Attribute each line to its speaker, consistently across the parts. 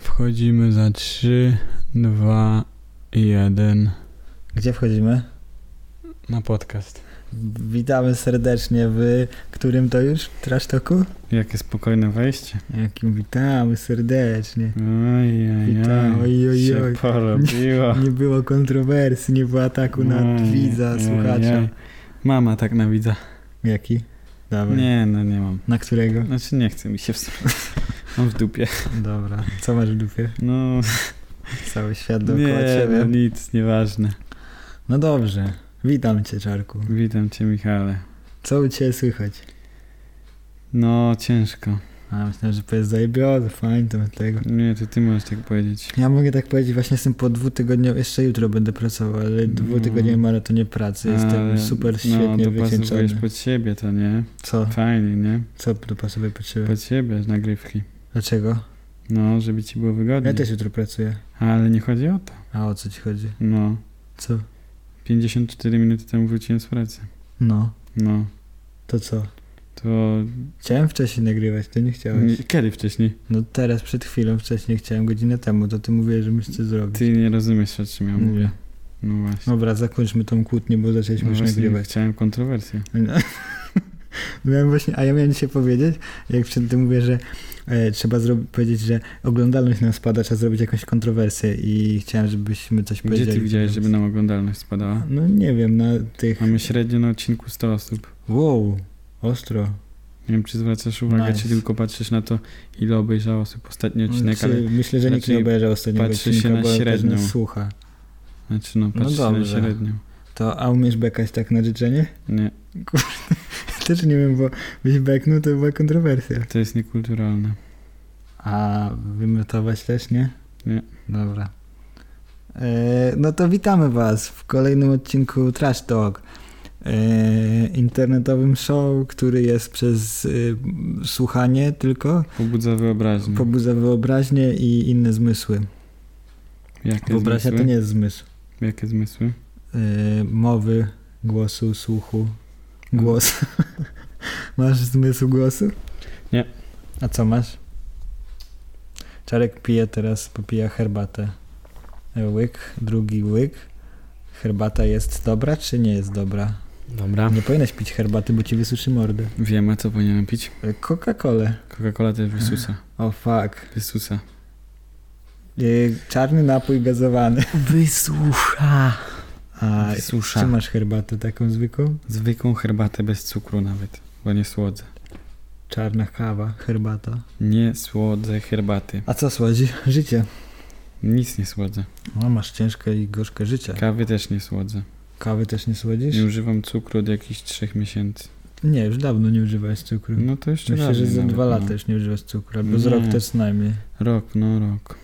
Speaker 1: Wchodzimy za 3, 2, 1
Speaker 2: Gdzie wchodzimy?
Speaker 1: na podcast.
Speaker 2: Witamy serdecznie w którym to już? Trash Talku?
Speaker 1: Jakie spokojne wejście.
Speaker 2: Jakim witamy serdecznie.
Speaker 1: Ojej,
Speaker 2: Witam, oj, oj,
Speaker 1: się
Speaker 2: oj.
Speaker 1: porobiło.
Speaker 2: Nie było kontrowersji, nie było ataku na
Speaker 1: Ojej,
Speaker 2: widza,
Speaker 1: ojej.
Speaker 2: słuchacza.
Speaker 1: Mama tak na widza.
Speaker 2: Jaki? Dawaj.
Speaker 1: Nie, no nie mam.
Speaker 2: Na którego?
Speaker 1: Znaczy nie chce mi się wstrzymać. Mam w dupie.
Speaker 2: Dobra. Co masz w dupie?
Speaker 1: No,
Speaker 2: Cały świat dookoła
Speaker 1: nie, no
Speaker 2: ciebie.
Speaker 1: nic, nieważne.
Speaker 2: No dobrze. Witam cię, Czarku.
Speaker 1: Witam cię, Michale.
Speaker 2: Co u ciebie słychać?
Speaker 1: No, ciężko.
Speaker 2: A, myślałem, że powiedz zajebiony, fajnie to tego.
Speaker 1: Nie, to ty możesz tak powiedzieć.
Speaker 2: Ja mogę tak powiedzieć, właśnie jestem po dwutygodniowym, jeszcze jutro będę pracował, ale
Speaker 1: No.
Speaker 2: dwutygodniowym maratonie pracy, jestem
Speaker 1: Ale,
Speaker 2: super
Speaker 1: No,
Speaker 2: świetnie
Speaker 1: dopasowujesz
Speaker 2: wycieńczony.
Speaker 1: pod siebie, to nie?
Speaker 2: Co?
Speaker 1: Fajnie, nie?
Speaker 2: Co dopasowuję pod siebie?
Speaker 1: Pod siebie nagrywki.
Speaker 2: Dlaczego?
Speaker 1: No, żeby ci było wygodnie.
Speaker 2: Ja też jutro pracuję.
Speaker 1: Ale nie chodzi o to.
Speaker 2: A o co ci chodzi?
Speaker 1: No.
Speaker 2: Co?
Speaker 1: 54 minuty temu wróciłem z pracy.
Speaker 2: No,
Speaker 1: No.
Speaker 2: to co?
Speaker 1: To...
Speaker 2: Chciałem wcześniej nagrywać, ty nie chciałeś.
Speaker 1: Nie- Kiedy wcześniej?
Speaker 2: No teraz, przed chwilą wcześniej chciałem, godzinę temu, to ty mówiłeś, że musisz coś zrobić.
Speaker 1: Ty nie rozumiesz, o czym ja
Speaker 2: Nie.
Speaker 1: mówię. No właśnie.
Speaker 2: Dobra, zakończmy tą kłótnię, bo zaczęliśmy
Speaker 1: No
Speaker 2: już
Speaker 1: właśnie
Speaker 2: nagrywać.
Speaker 1: chciałem kontrowersję.
Speaker 2: No. Miałem właśnie, a ja miałem dzisiaj powiedzieć, jak przed tym mówię, że e, trzeba zrobić, powiedzieć, że oglądalność nam spada, trzeba zrobić jakąś kontrowersję i chciałem, żebyśmy coś
Speaker 1: Gdzie
Speaker 2: powiedzieli.
Speaker 1: ty widziałeś, żeby nam oglądalność spadała?
Speaker 2: No nie wiem, na tych...
Speaker 1: Mamy średnio na odcinku 100 osób.
Speaker 2: Wow, ostro.
Speaker 1: Nie wiem, czy zwracasz uwagę,
Speaker 2: Nice.
Speaker 1: czy tylko patrzysz na to, ile obejrzało osób ostatni odcinek,
Speaker 2: Znaczy,
Speaker 1: ale...
Speaker 2: Myślę, że nikt
Speaker 1: raczej
Speaker 2: nie obejrzał ostatniego
Speaker 1: patrzy się
Speaker 2: odcinka,
Speaker 1: na
Speaker 2: bo też
Speaker 1: średnią.
Speaker 2: nas słucha.
Speaker 1: Znaczy, no,
Speaker 2: No
Speaker 1: patrzysz na
Speaker 2: dobrze.
Speaker 1: średnią.
Speaker 2: To, a umiesz bekać tak na życzenie?
Speaker 1: Nie,
Speaker 2: Też nie wiem, bo byś beknął, to była kontrowersja.
Speaker 1: to jest niekulturalne.
Speaker 2: A wymiotować też, nie?
Speaker 1: Nie.
Speaker 2: Dobra. E, no to witamy Was w kolejnym odcinku Trash Talk. E, internetowym show, który jest przez e, słuchanie tylko,
Speaker 1: Pobudza wyobraźnię.
Speaker 2: pobudza wyobraźnię i inne zmysły.
Speaker 1: Jakie
Speaker 2: Wyobraźnia
Speaker 1: zmysły?
Speaker 2: to nie jest zmysł.
Speaker 1: Jakie zmysły?
Speaker 2: E, mowy, głosu, słuchu. Głos. masz zmysł głosu?
Speaker 1: Nie.
Speaker 2: A co masz? Czarek pije teraz, popija herbatę. E, Łyk, drugi łyk. Herbata jest dobra, czy nie jest dobra?
Speaker 1: Dobra.
Speaker 2: Nie powinieneś pić herbaty, bo ci wysuszy mordę.
Speaker 1: Wiem, a co powinienem pić?
Speaker 2: E, Coca-Colę.
Speaker 1: Coca-Cola też wysusa.
Speaker 2: O fuck.
Speaker 1: Wysusa.
Speaker 2: E, Czarny napój gazowany.
Speaker 1: Wysusza.
Speaker 2: A
Speaker 1: Wysusza.
Speaker 2: czy masz herbatę taką zwykłą?
Speaker 1: Zwykłą herbatę bez cukru nawet, bo nie słodzę.
Speaker 2: Czarna kawa, herbata.
Speaker 1: Nie słodzę herbaty.
Speaker 2: A co słodzi? Życie.
Speaker 1: Nic nie słodzę.
Speaker 2: No, masz ciężkie i gorzkie życie.
Speaker 1: Kawy też nie słodzę.
Speaker 2: Kawy też nie słodzisz?
Speaker 1: Nie używam cukru od jakichś trzech miesięcy.
Speaker 2: Nie, już dawno nie używałeś cukru.
Speaker 1: No to jeszcze
Speaker 2: Myślę,
Speaker 1: dawniej
Speaker 2: że za
Speaker 1: nawet,
Speaker 2: dwa
Speaker 1: no.
Speaker 2: lata już nie używasz cukru, albo z
Speaker 1: Nie.
Speaker 2: rok też co najmniej.
Speaker 1: Rok, no rok.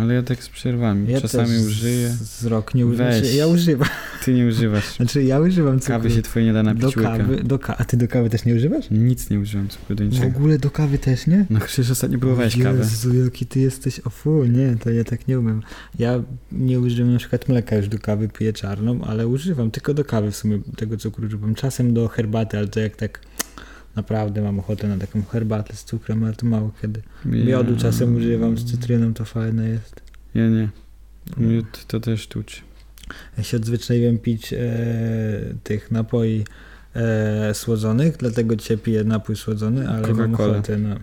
Speaker 1: Ale ja tak z przerwami.
Speaker 2: Ja
Speaker 1: Czasami
Speaker 2: też
Speaker 1: użyję.
Speaker 2: Z, z rok nie używam.
Speaker 1: Weź.
Speaker 2: Znaczy, ja używam.
Speaker 1: Ty nie używasz.
Speaker 2: Znaczy ja używam cukru.
Speaker 1: Kawy się twoje nie da napić
Speaker 2: do
Speaker 1: łyka.
Speaker 2: kawy, do ka- A ty do kawy też nie używasz?
Speaker 1: Nic nie użyłem cukru do
Speaker 2: W
Speaker 1: niczego.
Speaker 2: ogóle do kawy też nie?
Speaker 1: No przecież ostatnio próbowałeś kawę.
Speaker 2: Jezu, jaki ty jesteś. O fu, nie, to ja tak nie umiem. Ja nie używam na przykład mleka już do kawy, piję czarną, ale używam tylko do kawy w sumie tego cukru używam. Czasem do herbaty, ale to jak tak naprawdę mam ochotę na taką herbatę z cukrem, ale to mało kiedy. Miodu czasem używam z cytryną, to fajne jest.
Speaker 1: Ja nie. Miód to też tuć.
Speaker 2: Ja się odzwyczaiłem pić e, tych napoi e, słodzonych, dlatego dzisiaj piję napój słodzony, ale mam
Speaker 1: Coca-Cola.
Speaker 2: ochotę na...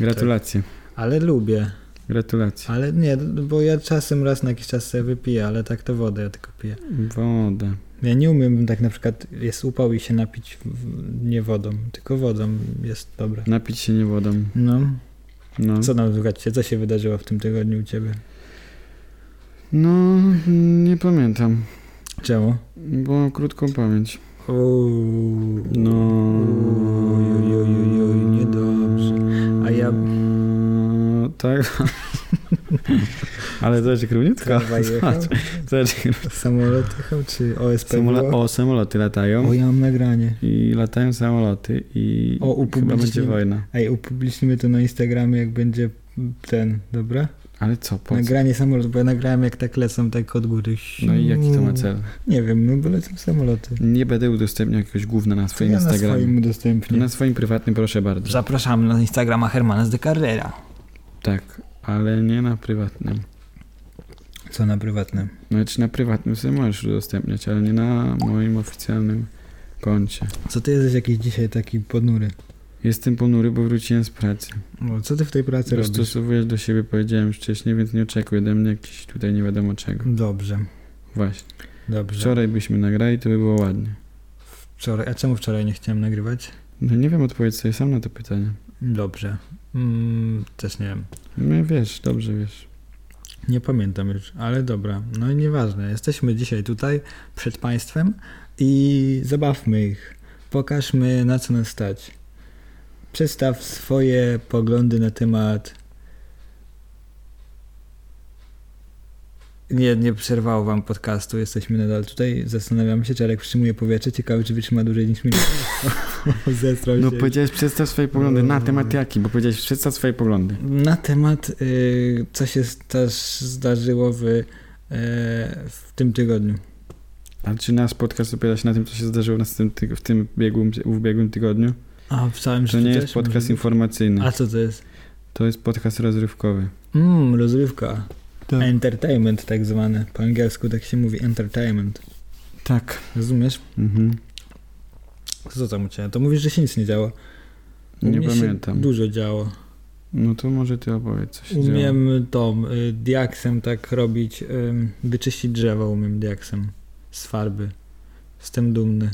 Speaker 1: Gratulacje.
Speaker 2: Ale lubię.
Speaker 1: Gratulacje.
Speaker 2: Ale nie, bo ja czasem raz na jakiś czas sobie wypiję, ale tak to wodę ja tylko piję.
Speaker 1: Woda.
Speaker 2: Ja nie umiem tak na przykład, jest upał i się napić w- w, nie wodą, tylko wodą jest dobre.
Speaker 1: Napić się nie wodą.
Speaker 2: No,
Speaker 1: No.
Speaker 2: co tam słuchajcie, co się wydarzyło w tym tygodniu u ciebie?
Speaker 1: No, nie pamiętam,
Speaker 2: Czemu?
Speaker 1: bo mam krótką pamięć.
Speaker 2: Uuu.
Speaker 1: No.
Speaker 2: Uj, uj, uj, uj, uj, niedobrze. A ja-
Speaker 1: Tak. Ale to jest króciutko. znaczy
Speaker 2: Tramwaj jechał? Samolot jechał, czy OSP
Speaker 1: Samola-
Speaker 2: było?
Speaker 1: o, samoloty latają.
Speaker 2: O, ja mam nagranie.
Speaker 1: I latają samoloty i
Speaker 2: O,
Speaker 1: chyba będzie
Speaker 2: upublicznij-
Speaker 1: wojna.
Speaker 2: Ej, upublicznimy to na Instagramie, jak będzie ten, dobra?
Speaker 1: Ale co, po co?
Speaker 2: Nagranie samolotu, bo ja nagrałem jak tak lecą, tak od góry.
Speaker 1: No i jaki
Speaker 2: Mm.
Speaker 1: to ma cel?
Speaker 2: Nie wiem, no bo lecą samoloty.
Speaker 1: Nie będę udostępniał jakiegoś gówna na
Speaker 2: Co
Speaker 1: swoim
Speaker 2: ja na
Speaker 1: Instagramie.
Speaker 2: swoim
Speaker 1: To
Speaker 2: udostępnię?
Speaker 1: Na swoim prywatnym proszę bardzo.
Speaker 2: Zapraszamy na Instagrama Hermana z de Carrera.
Speaker 1: Tak. ale nie na prywatnym.
Speaker 2: Co na prywatnym?
Speaker 1: Znaczy na prywatnym sobie możesz udostępniać, ale nie na moim oficjalnym koncie.
Speaker 2: Co ty jesteś jakiś dzisiaj taki ponury?
Speaker 1: Jestem ponury, bo wróciłem z pracy.
Speaker 2: No, co ty w tej pracy robisz?
Speaker 1: Dostosowuję do siebie, powiedziałem już wcześniej, więc nie oczekuj ode mnie jakiś tutaj nie wiadomo czego.
Speaker 2: Dobrze,
Speaker 1: Właśnie.
Speaker 2: dobrze.
Speaker 1: Wczoraj byśmy nagrali, to by było ładnie.
Speaker 2: Wczoraj, a czemu wczoraj nie chciałem nagrywać?
Speaker 1: No nie wiem, odpowiedz sobie sam na to pytanie.
Speaker 2: Dobrze. Mm, też nie wiem.
Speaker 1: No wiesz, dobrze wiesz.
Speaker 2: Nie pamiętam już, ale dobra. No i nieważne. Jesteśmy dzisiaj tutaj przed Państwem i zabawmy ich. Pokażmy na co nas stać. Przedstaw swoje poglądy na temat. Nie, nie przerwało wam podcastu, jesteśmy nadal tutaj. Zastanawiamy się, czy Arek przyjmuje powietrze. Ciekawe, czy wytrzyma dłużej niż minutę. Zestrał się.
Speaker 1: No powiedziałeś, przedstaw swoje poglądy. Na temat jaki? Bo powiedziałeś, przedstaw swoje poglądy.
Speaker 2: Na temat, y, co się też zdarzyło w, y, w tym tygodniu.
Speaker 1: A czy nasz podcast opiera się na tym, co się zdarzyło w, następnym tyg- w tym biegłym, w ubiegłym tygodniu?
Speaker 2: A w całym
Speaker 1: To
Speaker 2: życiu
Speaker 1: nie
Speaker 2: też
Speaker 1: jest podcast
Speaker 2: może być?
Speaker 1: informacyjny.
Speaker 2: A co to jest?
Speaker 1: To jest podcast rozrywkowy.
Speaker 2: Mmm, rozrywka.
Speaker 1: Tak.
Speaker 2: Entertainment tak zwany. Po angielsku tak się mówi entertainment.
Speaker 1: Tak.
Speaker 2: Rozumiesz?
Speaker 1: Mhm.
Speaker 2: Co tam u ciebie? To mówisz, że się nic nie działo. U
Speaker 1: Nie
Speaker 2: mnie się
Speaker 1: pamiętam.
Speaker 2: dużo działo.
Speaker 1: No to może ty opowiedz, co się działo.
Speaker 2: Umiem tą y, diaksem tak robić, y, wyczyścić drzewo umiem diaksem z farby. Jestem dumny.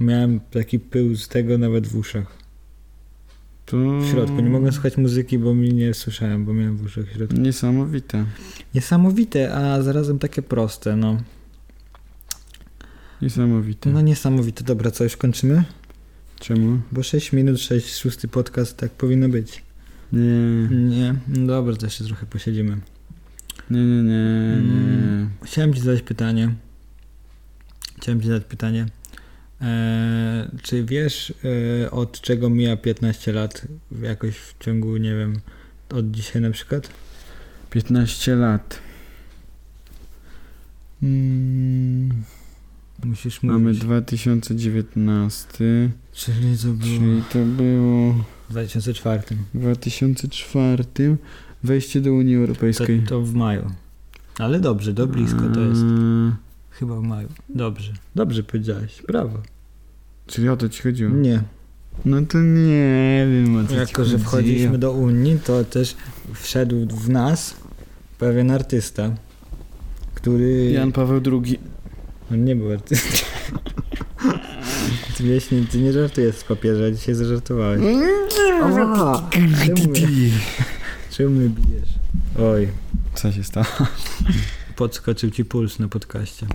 Speaker 2: Miałem taki pył z tego nawet w uszach.
Speaker 1: To...
Speaker 2: W środku. Nie
Speaker 1: Mm.
Speaker 2: mogłem słuchać muzyki, bo mi nie słyszałem, bo miałem w uszach w środku.
Speaker 1: Niesamowite.
Speaker 2: Niesamowite, a zarazem takie proste, no.
Speaker 1: Niesamowite.
Speaker 2: No niesamowite. Dobra, co już kończymy?
Speaker 1: Czemu?
Speaker 2: Bo 6 minut, 6, szósty podcast, tak powinno być.
Speaker 1: Nie,
Speaker 2: Nie, no dobra, to jeszcze trochę posiedzimy.
Speaker 1: nie, nie, nie, nie.
Speaker 2: Mm. Chciałem ci zadać pytanie. Chciałem ci zadać pytanie. Eee, czy wiesz, e, od czego mija 15 lat jakoś w ciągu, nie wiem, od dzisiaj na przykład?
Speaker 1: 15 lat. Mm,
Speaker 2: Musisz mówić.
Speaker 1: mamy 2019,
Speaker 2: Czyli to było
Speaker 1: czyli to było
Speaker 2: w 2004.
Speaker 1: w 2004 wejście do Unii
Speaker 2: To,
Speaker 1: Europejskiej.
Speaker 2: to w maju. Ale dobrze, to blisko to
Speaker 1: Mm.
Speaker 2: jest.
Speaker 1: A,
Speaker 2: Chyba w maju. Dobrze. Dobrze powiedziałeś. Brawo.
Speaker 1: Czyli o to ci chodziło?
Speaker 2: Nie.
Speaker 1: No to nie wiem o co ci
Speaker 2: Jako, że
Speaker 1: chodziło.
Speaker 2: wchodziliśmy do Unii, to też wszedł w nas pewien artysta, który...
Speaker 1: Jan Paweł II.
Speaker 2: On No nie był artystą. ty, wieś, nie, ty nie żartujesz z papieża, dzisiaj zażartowałeś.
Speaker 1: Mm.
Speaker 2: Ała, czemu, czemu mnie bijesz? Oj,
Speaker 1: Co się stało?
Speaker 2: podskoczył ci puls na podcaście.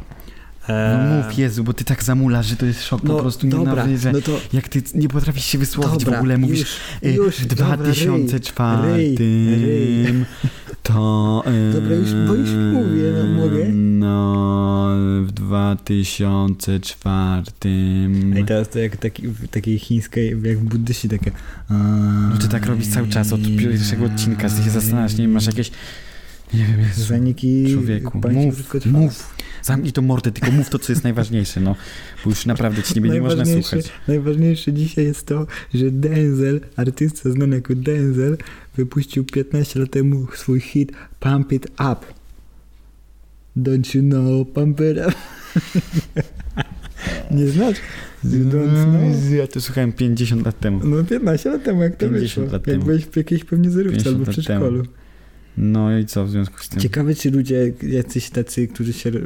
Speaker 1: No
Speaker 2: Eee,
Speaker 1: mów Jezu, bo ty tak zamulasz, że to jest szok po
Speaker 2: no,
Speaker 1: prostu
Speaker 2: dobra,
Speaker 1: nienawidzę.
Speaker 2: no to
Speaker 1: Jak ty nie potrafisz się wysłowić
Speaker 2: dobra,
Speaker 1: w ogóle, mówisz
Speaker 2: już,
Speaker 1: y,
Speaker 2: już,
Speaker 1: w
Speaker 2: dobra, ryj.
Speaker 1: 2004
Speaker 2: ryj, ryj.
Speaker 1: to... y,
Speaker 2: Dobra, już- bo już mówię, no, mówię.
Speaker 1: No, w 2004...
Speaker 2: Ej, teraz to jak taki, w takiej chińskiej, jak w buddyści takie...
Speaker 1: No ty tak robisz cały czas od pierwszego odcinka, ty się zastanawiasz, nie wiem, masz jakieś... Nie wiem, Jezu,
Speaker 2: Zaniki...
Speaker 1: człowieku,
Speaker 2: pamięci
Speaker 1: mów,
Speaker 2: użytko trwa.
Speaker 1: mów, zamknij to mordę, tylko mów to, co jest najważniejsze, no, bo już naprawdę ci nie będzie można
Speaker 2: Najważniejsze-
Speaker 1: słuchać.
Speaker 2: Najważniejsze dzisiaj jest to, że Denzel, artysta znany jako Denzel, wypuścił 15 lat temu swój hit Pump It Up. Don't you know, pump it up. Nie znasz? You don't know.
Speaker 1: No, Ja to słuchałem 50 lat temu.
Speaker 2: No 15 lat temu, jak to
Speaker 1: 50
Speaker 2: wyszło.
Speaker 1: lat
Speaker 2: jak
Speaker 1: temu.
Speaker 2: byłeś w jakiejś pewnie zerówce
Speaker 1: 50
Speaker 2: albo w
Speaker 1: lat
Speaker 2: przedszkolu.
Speaker 1: No i co w związku z tym?
Speaker 2: Ciekawe, czy ludzie jacyś tacy, którzy się, y,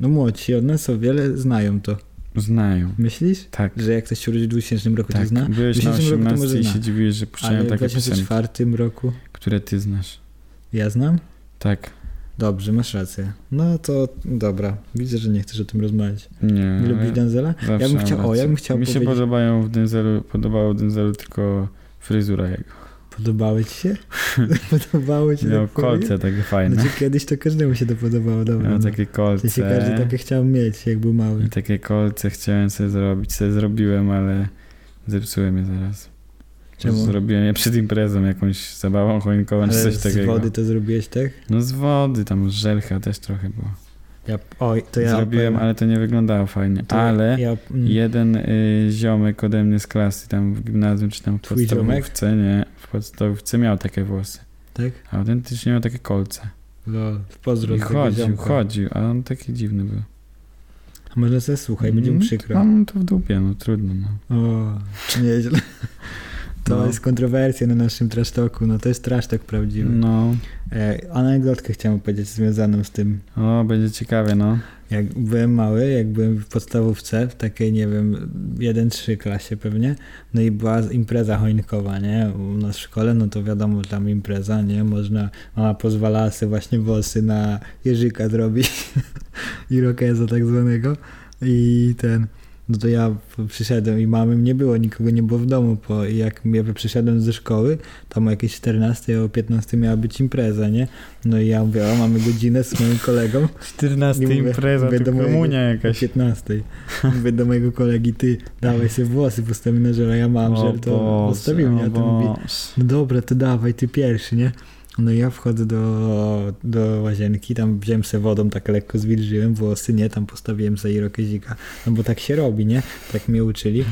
Speaker 2: no młodsi od nas o wiele znają to.
Speaker 1: Znają.
Speaker 2: Myślisz?
Speaker 1: Tak.
Speaker 2: Że jak ktoś się urodzi w 2000 roku, to
Speaker 1: tak.
Speaker 2: zna?
Speaker 1: Byłeś
Speaker 2: Myślę,
Speaker 1: na
Speaker 2: że robię to
Speaker 1: 18
Speaker 2: może
Speaker 1: i
Speaker 2: zna.
Speaker 1: się dziwiłeś, że
Speaker 2: Ale
Speaker 1: puszczają
Speaker 2: w
Speaker 1: takie piosenki,
Speaker 2: 2004 roku
Speaker 1: które ty znasz.
Speaker 2: ja znam?
Speaker 1: Tak.
Speaker 2: Dobrze, masz rację. No to dobra, widzę, że nie chcesz o tym rozmawiać.
Speaker 1: Nie.
Speaker 2: Nie
Speaker 1: ale
Speaker 2: lubisz Denzela?
Speaker 1: zawsze
Speaker 2: Ja bym
Speaker 1: mam
Speaker 2: chciał- o,
Speaker 1: rację.
Speaker 2: ja bym chciał
Speaker 1: Mi się
Speaker 2: powiedzieć-
Speaker 1: podobają w Denzelu, podobało w Denzelu tylko fryzura jego.
Speaker 2: Podobały ci się? Podobały ci się?
Speaker 1: Miał kolce takie fajne.
Speaker 2: Znaczy kiedyś to każdemu się to podobało, dobra.
Speaker 1: Miał
Speaker 2: no.
Speaker 1: takie
Speaker 2: To się
Speaker 1: kolce.
Speaker 2: każdy
Speaker 1: Tak,
Speaker 2: takie chciał mieć, jak był mały.
Speaker 1: I Takie kolce chciałem sobie zrobić. Sobie zrobiłem, ale zepsułem je zaraz.
Speaker 2: Czemu?
Speaker 1: Zrobiłem je przed imprezą, jakąś zabawą choinkową czy
Speaker 2: Ale
Speaker 1: coś
Speaker 2: z
Speaker 1: takiego.
Speaker 2: wody to zrobiłeś, tak?
Speaker 1: No z wody, tam z żelcha też trochę było.
Speaker 2: Ja, oj, to ja...
Speaker 1: Zrobiłem, ale to nie wyglądało fajnie.
Speaker 2: to
Speaker 1: ale
Speaker 2: Ja, mm,
Speaker 1: jeden y, ziomek ode mnie z klasy tam w gimnazjum czy tam w
Speaker 2: Twój ziomek?
Speaker 1: podstawówce, nie, w podstawówce miał takie włosy.
Speaker 2: tak?
Speaker 1: Autentycznie miał takie kolce.
Speaker 2: Lol, pozdro
Speaker 1: I
Speaker 2: do tego
Speaker 1: chodził,
Speaker 2: ziomka.
Speaker 1: chodził, a on taki dziwny był.
Speaker 2: A Może sobie słuchaj, będzie mu
Speaker 1: Mm,
Speaker 2: przykro.
Speaker 1: Mam to w dupie, no trudno. No.
Speaker 2: O, nieźle. To
Speaker 1: No.
Speaker 2: jest kontrowersja na naszym trasztoku, no to jest trasztok prawdziwy.
Speaker 1: no.
Speaker 2: E, anegdotkę chciałem powiedzieć związaną z tym.
Speaker 1: O, będzie ciekawie, no.
Speaker 2: Jak byłem mały, jak byłem w podstawówce, w takiej, nie wiem, 1-3 klasie pewnie, no i była impreza choinkowa, nie? U nas w szkole, no to wiadomo, tam impreza, nie? Można, mama pozwalała sobie właśnie włosy na jeżyka zrobić, irokeza tak zwanego i ten... No to ja przyszedłem i mamy nie było, nikogo nie było w domu, bo jak ja przyszedłem ze szkoły, tam o jakieś 14, o 15 miała być impreza, nie? No i ja mówię, o, mamy godzinę z moim kolegą,
Speaker 1: 14
Speaker 2: Nie mówię-
Speaker 1: impreza,
Speaker 2: mówię
Speaker 1: to
Speaker 2: do mojego-
Speaker 1: komunia
Speaker 2: o
Speaker 1: jakaś.
Speaker 2: 15. Mówię do mojego kolegi, ty dawaj sobie włosy, postawimy na żel, a ja mam żel, to postawimy. Ja to mówię, no dobra, to dawaj, ty pierwszy, nie? No i ja wchodzę do, do łazienki, tam wziąłem se wodą, tak lekko zwilżyłem włosy, nie? Tam postawiłem sobie irokezika, no bo tak się robi, nie? Tak mnie uczyli.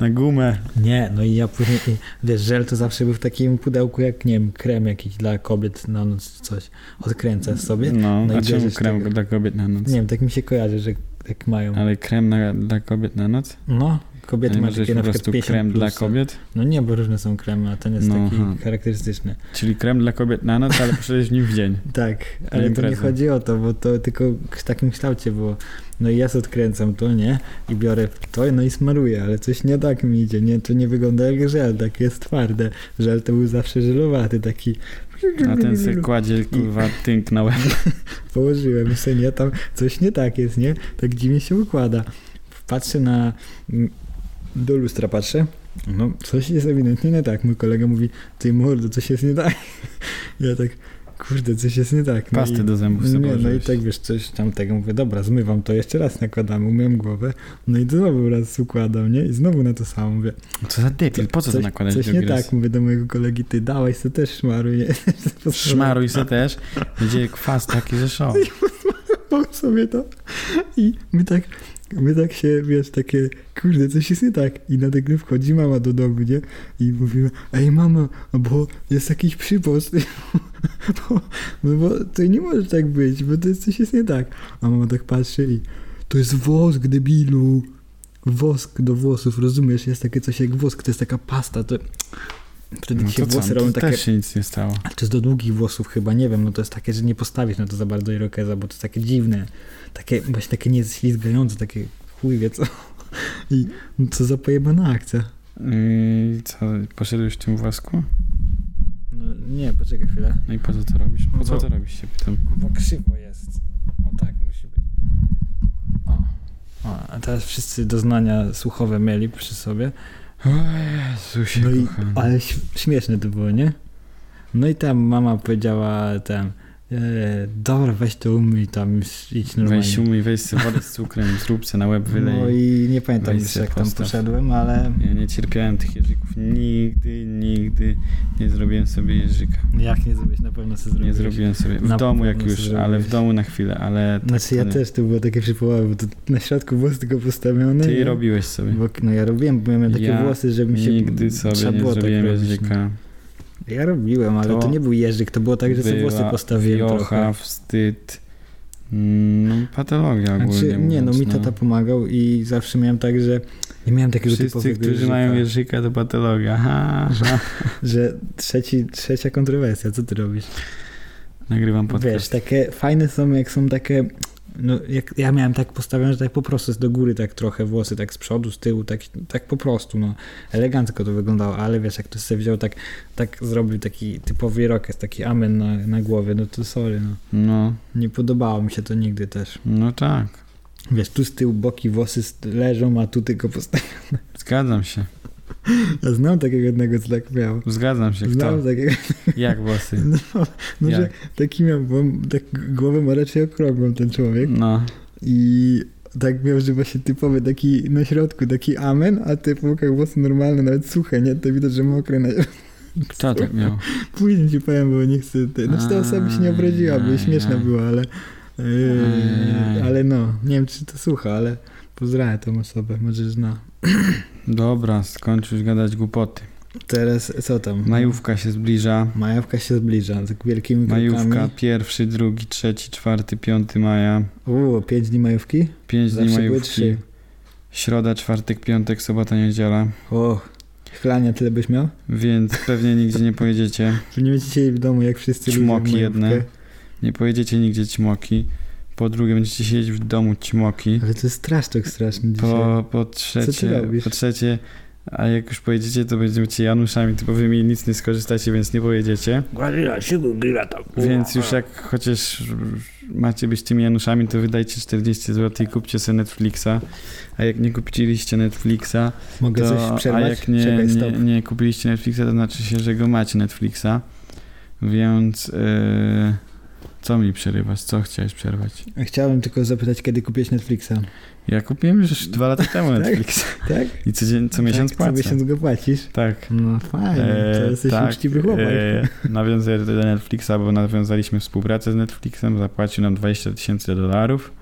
Speaker 1: Na gumę.
Speaker 2: Nie, no i ja później, i wiesz, żel to zawsze był w takim pudełku jak, nie wiem, krem jakiś dla kobiet na noc czy coś. Odkręcasz sobie.
Speaker 1: No,
Speaker 2: no i
Speaker 1: a czemu
Speaker 2: bierzesz
Speaker 1: krem
Speaker 2: tego.
Speaker 1: dla kobiet na noc?
Speaker 2: Nie wiem, tak mi się kojarzy, że tak mają.
Speaker 1: Ale krem na, dla kobiet na noc?
Speaker 2: No,
Speaker 1: A
Speaker 2: kobiety
Speaker 1: nie
Speaker 2: mają
Speaker 1: może
Speaker 2: takie
Speaker 1: być
Speaker 2: na
Speaker 1: po
Speaker 2: przykład
Speaker 1: prostu
Speaker 2: 50
Speaker 1: krem dla
Speaker 2: plus.
Speaker 1: kobiet?
Speaker 2: No nie, bo różne są kremy, a ten jest
Speaker 1: No,
Speaker 2: taki
Speaker 1: aha.
Speaker 2: charakterystyczny.
Speaker 1: Czyli krem dla kobiet na noc, ale przecież w nim w dzień.
Speaker 2: Tak, ale to nie
Speaker 1: impreza.
Speaker 2: chodzi o to, bo to tylko w takim kształcie było. No i ja sobie odkręcam to, nie? I biorę to, no i smaruję, ale coś nie tak mi idzie, nie? To nie wygląda jak żel, tak jest twarde. Żel to był zawsze żelowaty, taki...
Speaker 1: A ten sobie kładzie, kurwa, tynk na łeb.
Speaker 2: Położyłem się, nie? Tam coś nie tak jest, nie? Tak dziwnie się układa. Patrzę na... mm, Do lustra patrzę, no coś jest ewidentnie nie tak. Mój kolega mówi, ty mordo, coś jest nie tak. Ja tak, kurde, coś jest nie tak. No i-
Speaker 1: Pasty do zębów sobie
Speaker 2: nie, no i
Speaker 1: położyłeś.
Speaker 2: tak wiesz, coś tam tego mówię, dobra, zmywam to, jeszcze raz nakładam, umyłem głowę, no i znowu raz układam, nie? I znowu na to samo mówię.
Speaker 1: Co za debil, po co to
Speaker 2: coś,
Speaker 1: nakładać
Speaker 2: Coś
Speaker 1: drugi
Speaker 2: nie
Speaker 1: raz?
Speaker 2: tak, mówię do mojego kolegi, ty dałeś, to też szmaruj, nie?
Speaker 1: Szmaruj se też, będzie kwas taki, że szok.
Speaker 2: Mam sobie to i my tak, my tak się, wiesz, takie, kurde, coś jest nie tak. I na tę grę wchodzi mama do domu, nie? I mówimy, ej mama, bo jest jakiś przypost. Bo, no bo to nie może tak być, bo to jest, coś jest nie tak. A mama tak patrzy i, to jest wosk, debilu. Wosk do włosów, rozumiesz? Jest takie coś jak wosk, to jest taka pasta, to... Wtedy
Speaker 1: No
Speaker 2: się
Speaker 1: to co,
Speaker 2: włosy
Speaker 1: to
Speaker 2: robią takie
Speaker 1: też się nic nie stało.
Speaker 2: ale to jest do długich włosów chyba, nie wiem, no to jest takie, że nie postawisz na to za bardzo irokeza, bo to jest takie dziwne, takie, właśnie takie nieślizgające, takie chuj wie co. I no co za pojebana akcja. Mm,
Speaker 1: I co, poszedłeś w tym własku?
Speaker 2: No nie, poczekaj chwilę.
Speaker 1: No i po co to robisz? Po co
Speaker 2: No.
Speaker 1: to robisz, się pytam.
Speaker 2: Bo krzywo jest. O tak musi być. O. o a teraz wszyscy doznania słuchowe mieli przy sobie.
Speaker 1: O Jezusie,
Speaker 2: No i,
Speaker 1: kochany.
Speaker 2: ale ś- śmieszne to było, nie? No i tam mama powiedziała tam, e, dobra, weź to umyj tam, idź normalnie.
Speaker 1: Weź umyj, weź sobie wodę z cukrem, zrób se na łeb, wylej.
Speaker 2: No i nie pamiętam
Speaker 1: Weź
Speaker 2: już
Speaker 1: sobie
Speaker 2: jak tam
Speaker 1: postaw.
Speaker 2: poszedłem, ale
Speaker 1: Ja nie cierpiałem tych jeżyków. Nigdy, nigdy nie zrobiłem sobie jeżyka.
Speaker 2: jak nie zrobić, na pewno sobie
Speaker 1: Nie
Speaker 2: zrobiłeś.
Speaker 1: zrobiłem sobie. W
Speaker 2: Na
Speaker 1: domu jak
Speaker 2: pewno
Speaker 1: już,
Speaker 2: sobie
Speaker 1: ale w
Speaker 2: zrobiłeś.
Speaker 1: domu na chwilę, ale tak
Speaker 2: Znaczy ja
Speaker 1: to nie.
Speaker 2: też to było takie przypołowe, bo to na środku włos tylko postawiony.
Speaker 1: Ty
Speaker 2: No nie?
Speaker 1: robiłeś sobie.
Speaker 2: Bo, no ja robiłem, bo miałem takie
Speaker 1: Ja
Speaker 2: włosy, że mi się
Speaker 1: Nigdy sobie
Speaker 2: trzeba
Speaker 1: nie
Speaker 2: było
Speaker 1: zrobiłem
Speaker 2: tak robić, no.
Speaker 1: jeżyka.
Speaker 2: Ja robiłem, ale to,
Speaker 1: To
Speaker 2: nie był jeżyk, to było tak, że sobie
Speaker 1: Była
Speaker 2: włosy postawiłem
Speaker 1: wiocha,
Speaker 2: trochę.
Speaker 1: wstyd. No, patologia ogólnie
Speaker 2: Znaczy, nie, no
Speaker 1: mówiąc,
Speaker 2: mi tata pomagał i zawsze miałem tak, że nie miałem takiego
Speaker 1: Wszyscy,
Speaker 2: typowego
Speaker 1: którzy
Speaker 2: jeżyka,
Speaker 1: mają jeżyka, to patologia. Ha, ha.
Speaker 2: że trzeci, trzecia kontrowersja, co ty robisz?
Speaker 1: Nagrywam podcast.
Speaker 2: Wiesz, tak. takie fajne są, jak są takie. No, jak ja miałem tak postawione, że tak po prostu do góry, tak trochę włosy, tak z przodu, z tyłu, tak, tak po prostu, no. Elegancko to wyglądało, ale wiesz, jak ktoś sobie wziął, tak, tak zrobił taki typowy rokes, taki amen na, na głowie, no to sorry, no.
Speaker 1: No,
Speaker 2: Nie podobało mi się to nigdy też.
Speaker 1: no tak.
Speaker 2: Wiesz, tu z tyłu boki włosy st- leżą, a tu tylko postawione.
Speaker 1: Zgadzam się.
Speaker 2: Ja znam takiego jednego, co tak miał.
Speaker 1: Zgadzam się. Kto?
Speaker 2: Znam takiego,
Speaker 1: Jak włosy?
Speaker 2: no, no że
Speaker 1: Jak?
Speaker 2: taki miał, bo on tak głowę ma raczej okrągłą ten człowiek.
Speaker 1: No.
Speaker 2: I tak miał, że właśnie typowy taki na środku, taki amen, a ty po bokach włosy normalne, nawet suche, nie? To widać, że mokre. Na...
Speaker 1: Kto tak miał?
Speaker 2: Później ci powiem, bo nie chcę... Te... Znaczy ta osoba się nie obraziła, bo śmieszna
Speaker 1: Ajaj.
Speaker 2: była, ale...
Speaker 1: Ajaj.
Speaker 2: Yy, ale no, nie wiem, czy to słucha, ale pozdrawiam tą osobę, może no. zna.
Speaker 1: Dobra, skończysz gadać głupoty.
Speaker 2: Teraz co tam?
Speaker 1: Majówka się zbliża.
Speaker 2: Majówka się zbliża, z wielkimi
Speaker 1: Majówka,
Speaker 2: krokami.
Speaker 1: pierwszy, drugi, trzeci, czwarty, piąty maja.
Speaker 2: Uuu, pięć dni majówki?
Speaker 1: Pięć dni
Speaker 2: Zawsze były
Speaker 1: majówki.
Speaker 2: trzy.
Speaker 1: Środa, czwartek, piątek, sobota, niedziela.
Speaker 2: O, chlania tyle byś miał?
Speaker 1: Więc pewnie nigdzie nie pojedziecie.
Speaker 2: Że nie będziecie jej w domu, jak wszyscy ludzie w
Speaker 1: Ćmoki
Speaker 2: majówkę.
Speaker 1: jedne. Nie pojedziecie nigdzie ćmoki. Po drugie, będziecie siedzieć w domu ćmoki.
Speaker 2: Ale to jest straszczek straszny dzisiaj.
Speaker 1: Po, po trzecie,
Speaker 2: robisz?
Speaker 1: po trzecie, a jak już pojedziecie, to będziecie Januszami typowymi i nic nie skorzystacie, więc nie pojedziecie.
Speaker 2: Gorilla, siły, gorilla tam.
Speaker 1: Więc już jak chociaż macie być tymi Januszami, to wydajcie 40 zł i kupcie sobie Netflixa. A jak nie kupiliście Netflixa,
Speaker 2: Mogę
Speaker 1: to,
Speaker 2: coś przerwać?
Speaker 1: a jak nie,
Speaker 2: Czekaj, stop.
Speaker 1: nie, nie kupiliście Netflixa, to znaczy się, że go macie Netflixa. Więc yy, co mi przerywasz? Co chciałeś przerwać?
Speaker 2: Chciałem tylko zapytać, kiedy kupiłeś Netflixa.
Speaker 1: Ja kupiłem już dwa lata temu Netflixa.
Speaker 2: Tak?
Speaker 1: I co, dzień, co miesiąc
Speaker 2: tak,
Speaker 1: płacę.
Speaker 2: Co miesiąc go płacisz?
Speaker 1: Tak.
Speaker 2: No fajnie, to
Speaker 1: E,
Speaker 2: jesteś uczciwy chłopak.
Speaker 1: e, nawiązuję do Netflixa, bo nawiązaliśmy współpracę z Netflixem. Zapłacił nam 20 tysięcy dolarów.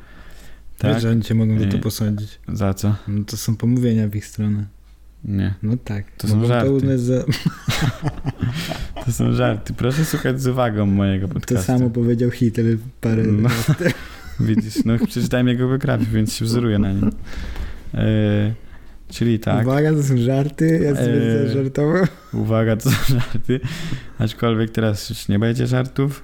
Speaker 2: tak?
Speaker 1: Tak.
Speaker 2: że oni cię mogą za to
Speaker 1: E,
Speaker 2: posądzić.
Speaker 1: Za co?
Speaker 2: No to są pomówienia w ich stronę.
Speaker 1: Nie.
Speaker 2: No tak.
Speaker 1: To są
Speaker 2: Mogą
Speaker 1: żarty.
Speaker 2: To, uznać za...
Speaker 1: To są żarty. Proszę słuchać z uwagą mojego podcastu.
Speaker 2: to samo powiedział Hitler parę
Speaker 1: No.
Speaker 2: lat temu.
Speaker 1: Widzisz, no przeczytałem jego biografię, więc się wzoruję na nim. E, czyli tak,
Speaker 2: Uwaga, to są żarty, ja sobie
Speaker 1: E,
Speaker 2: eee. żartował.
Speaker 1: uwaga, to są żarty, aczkolwiek teraz już nie będzie żartów.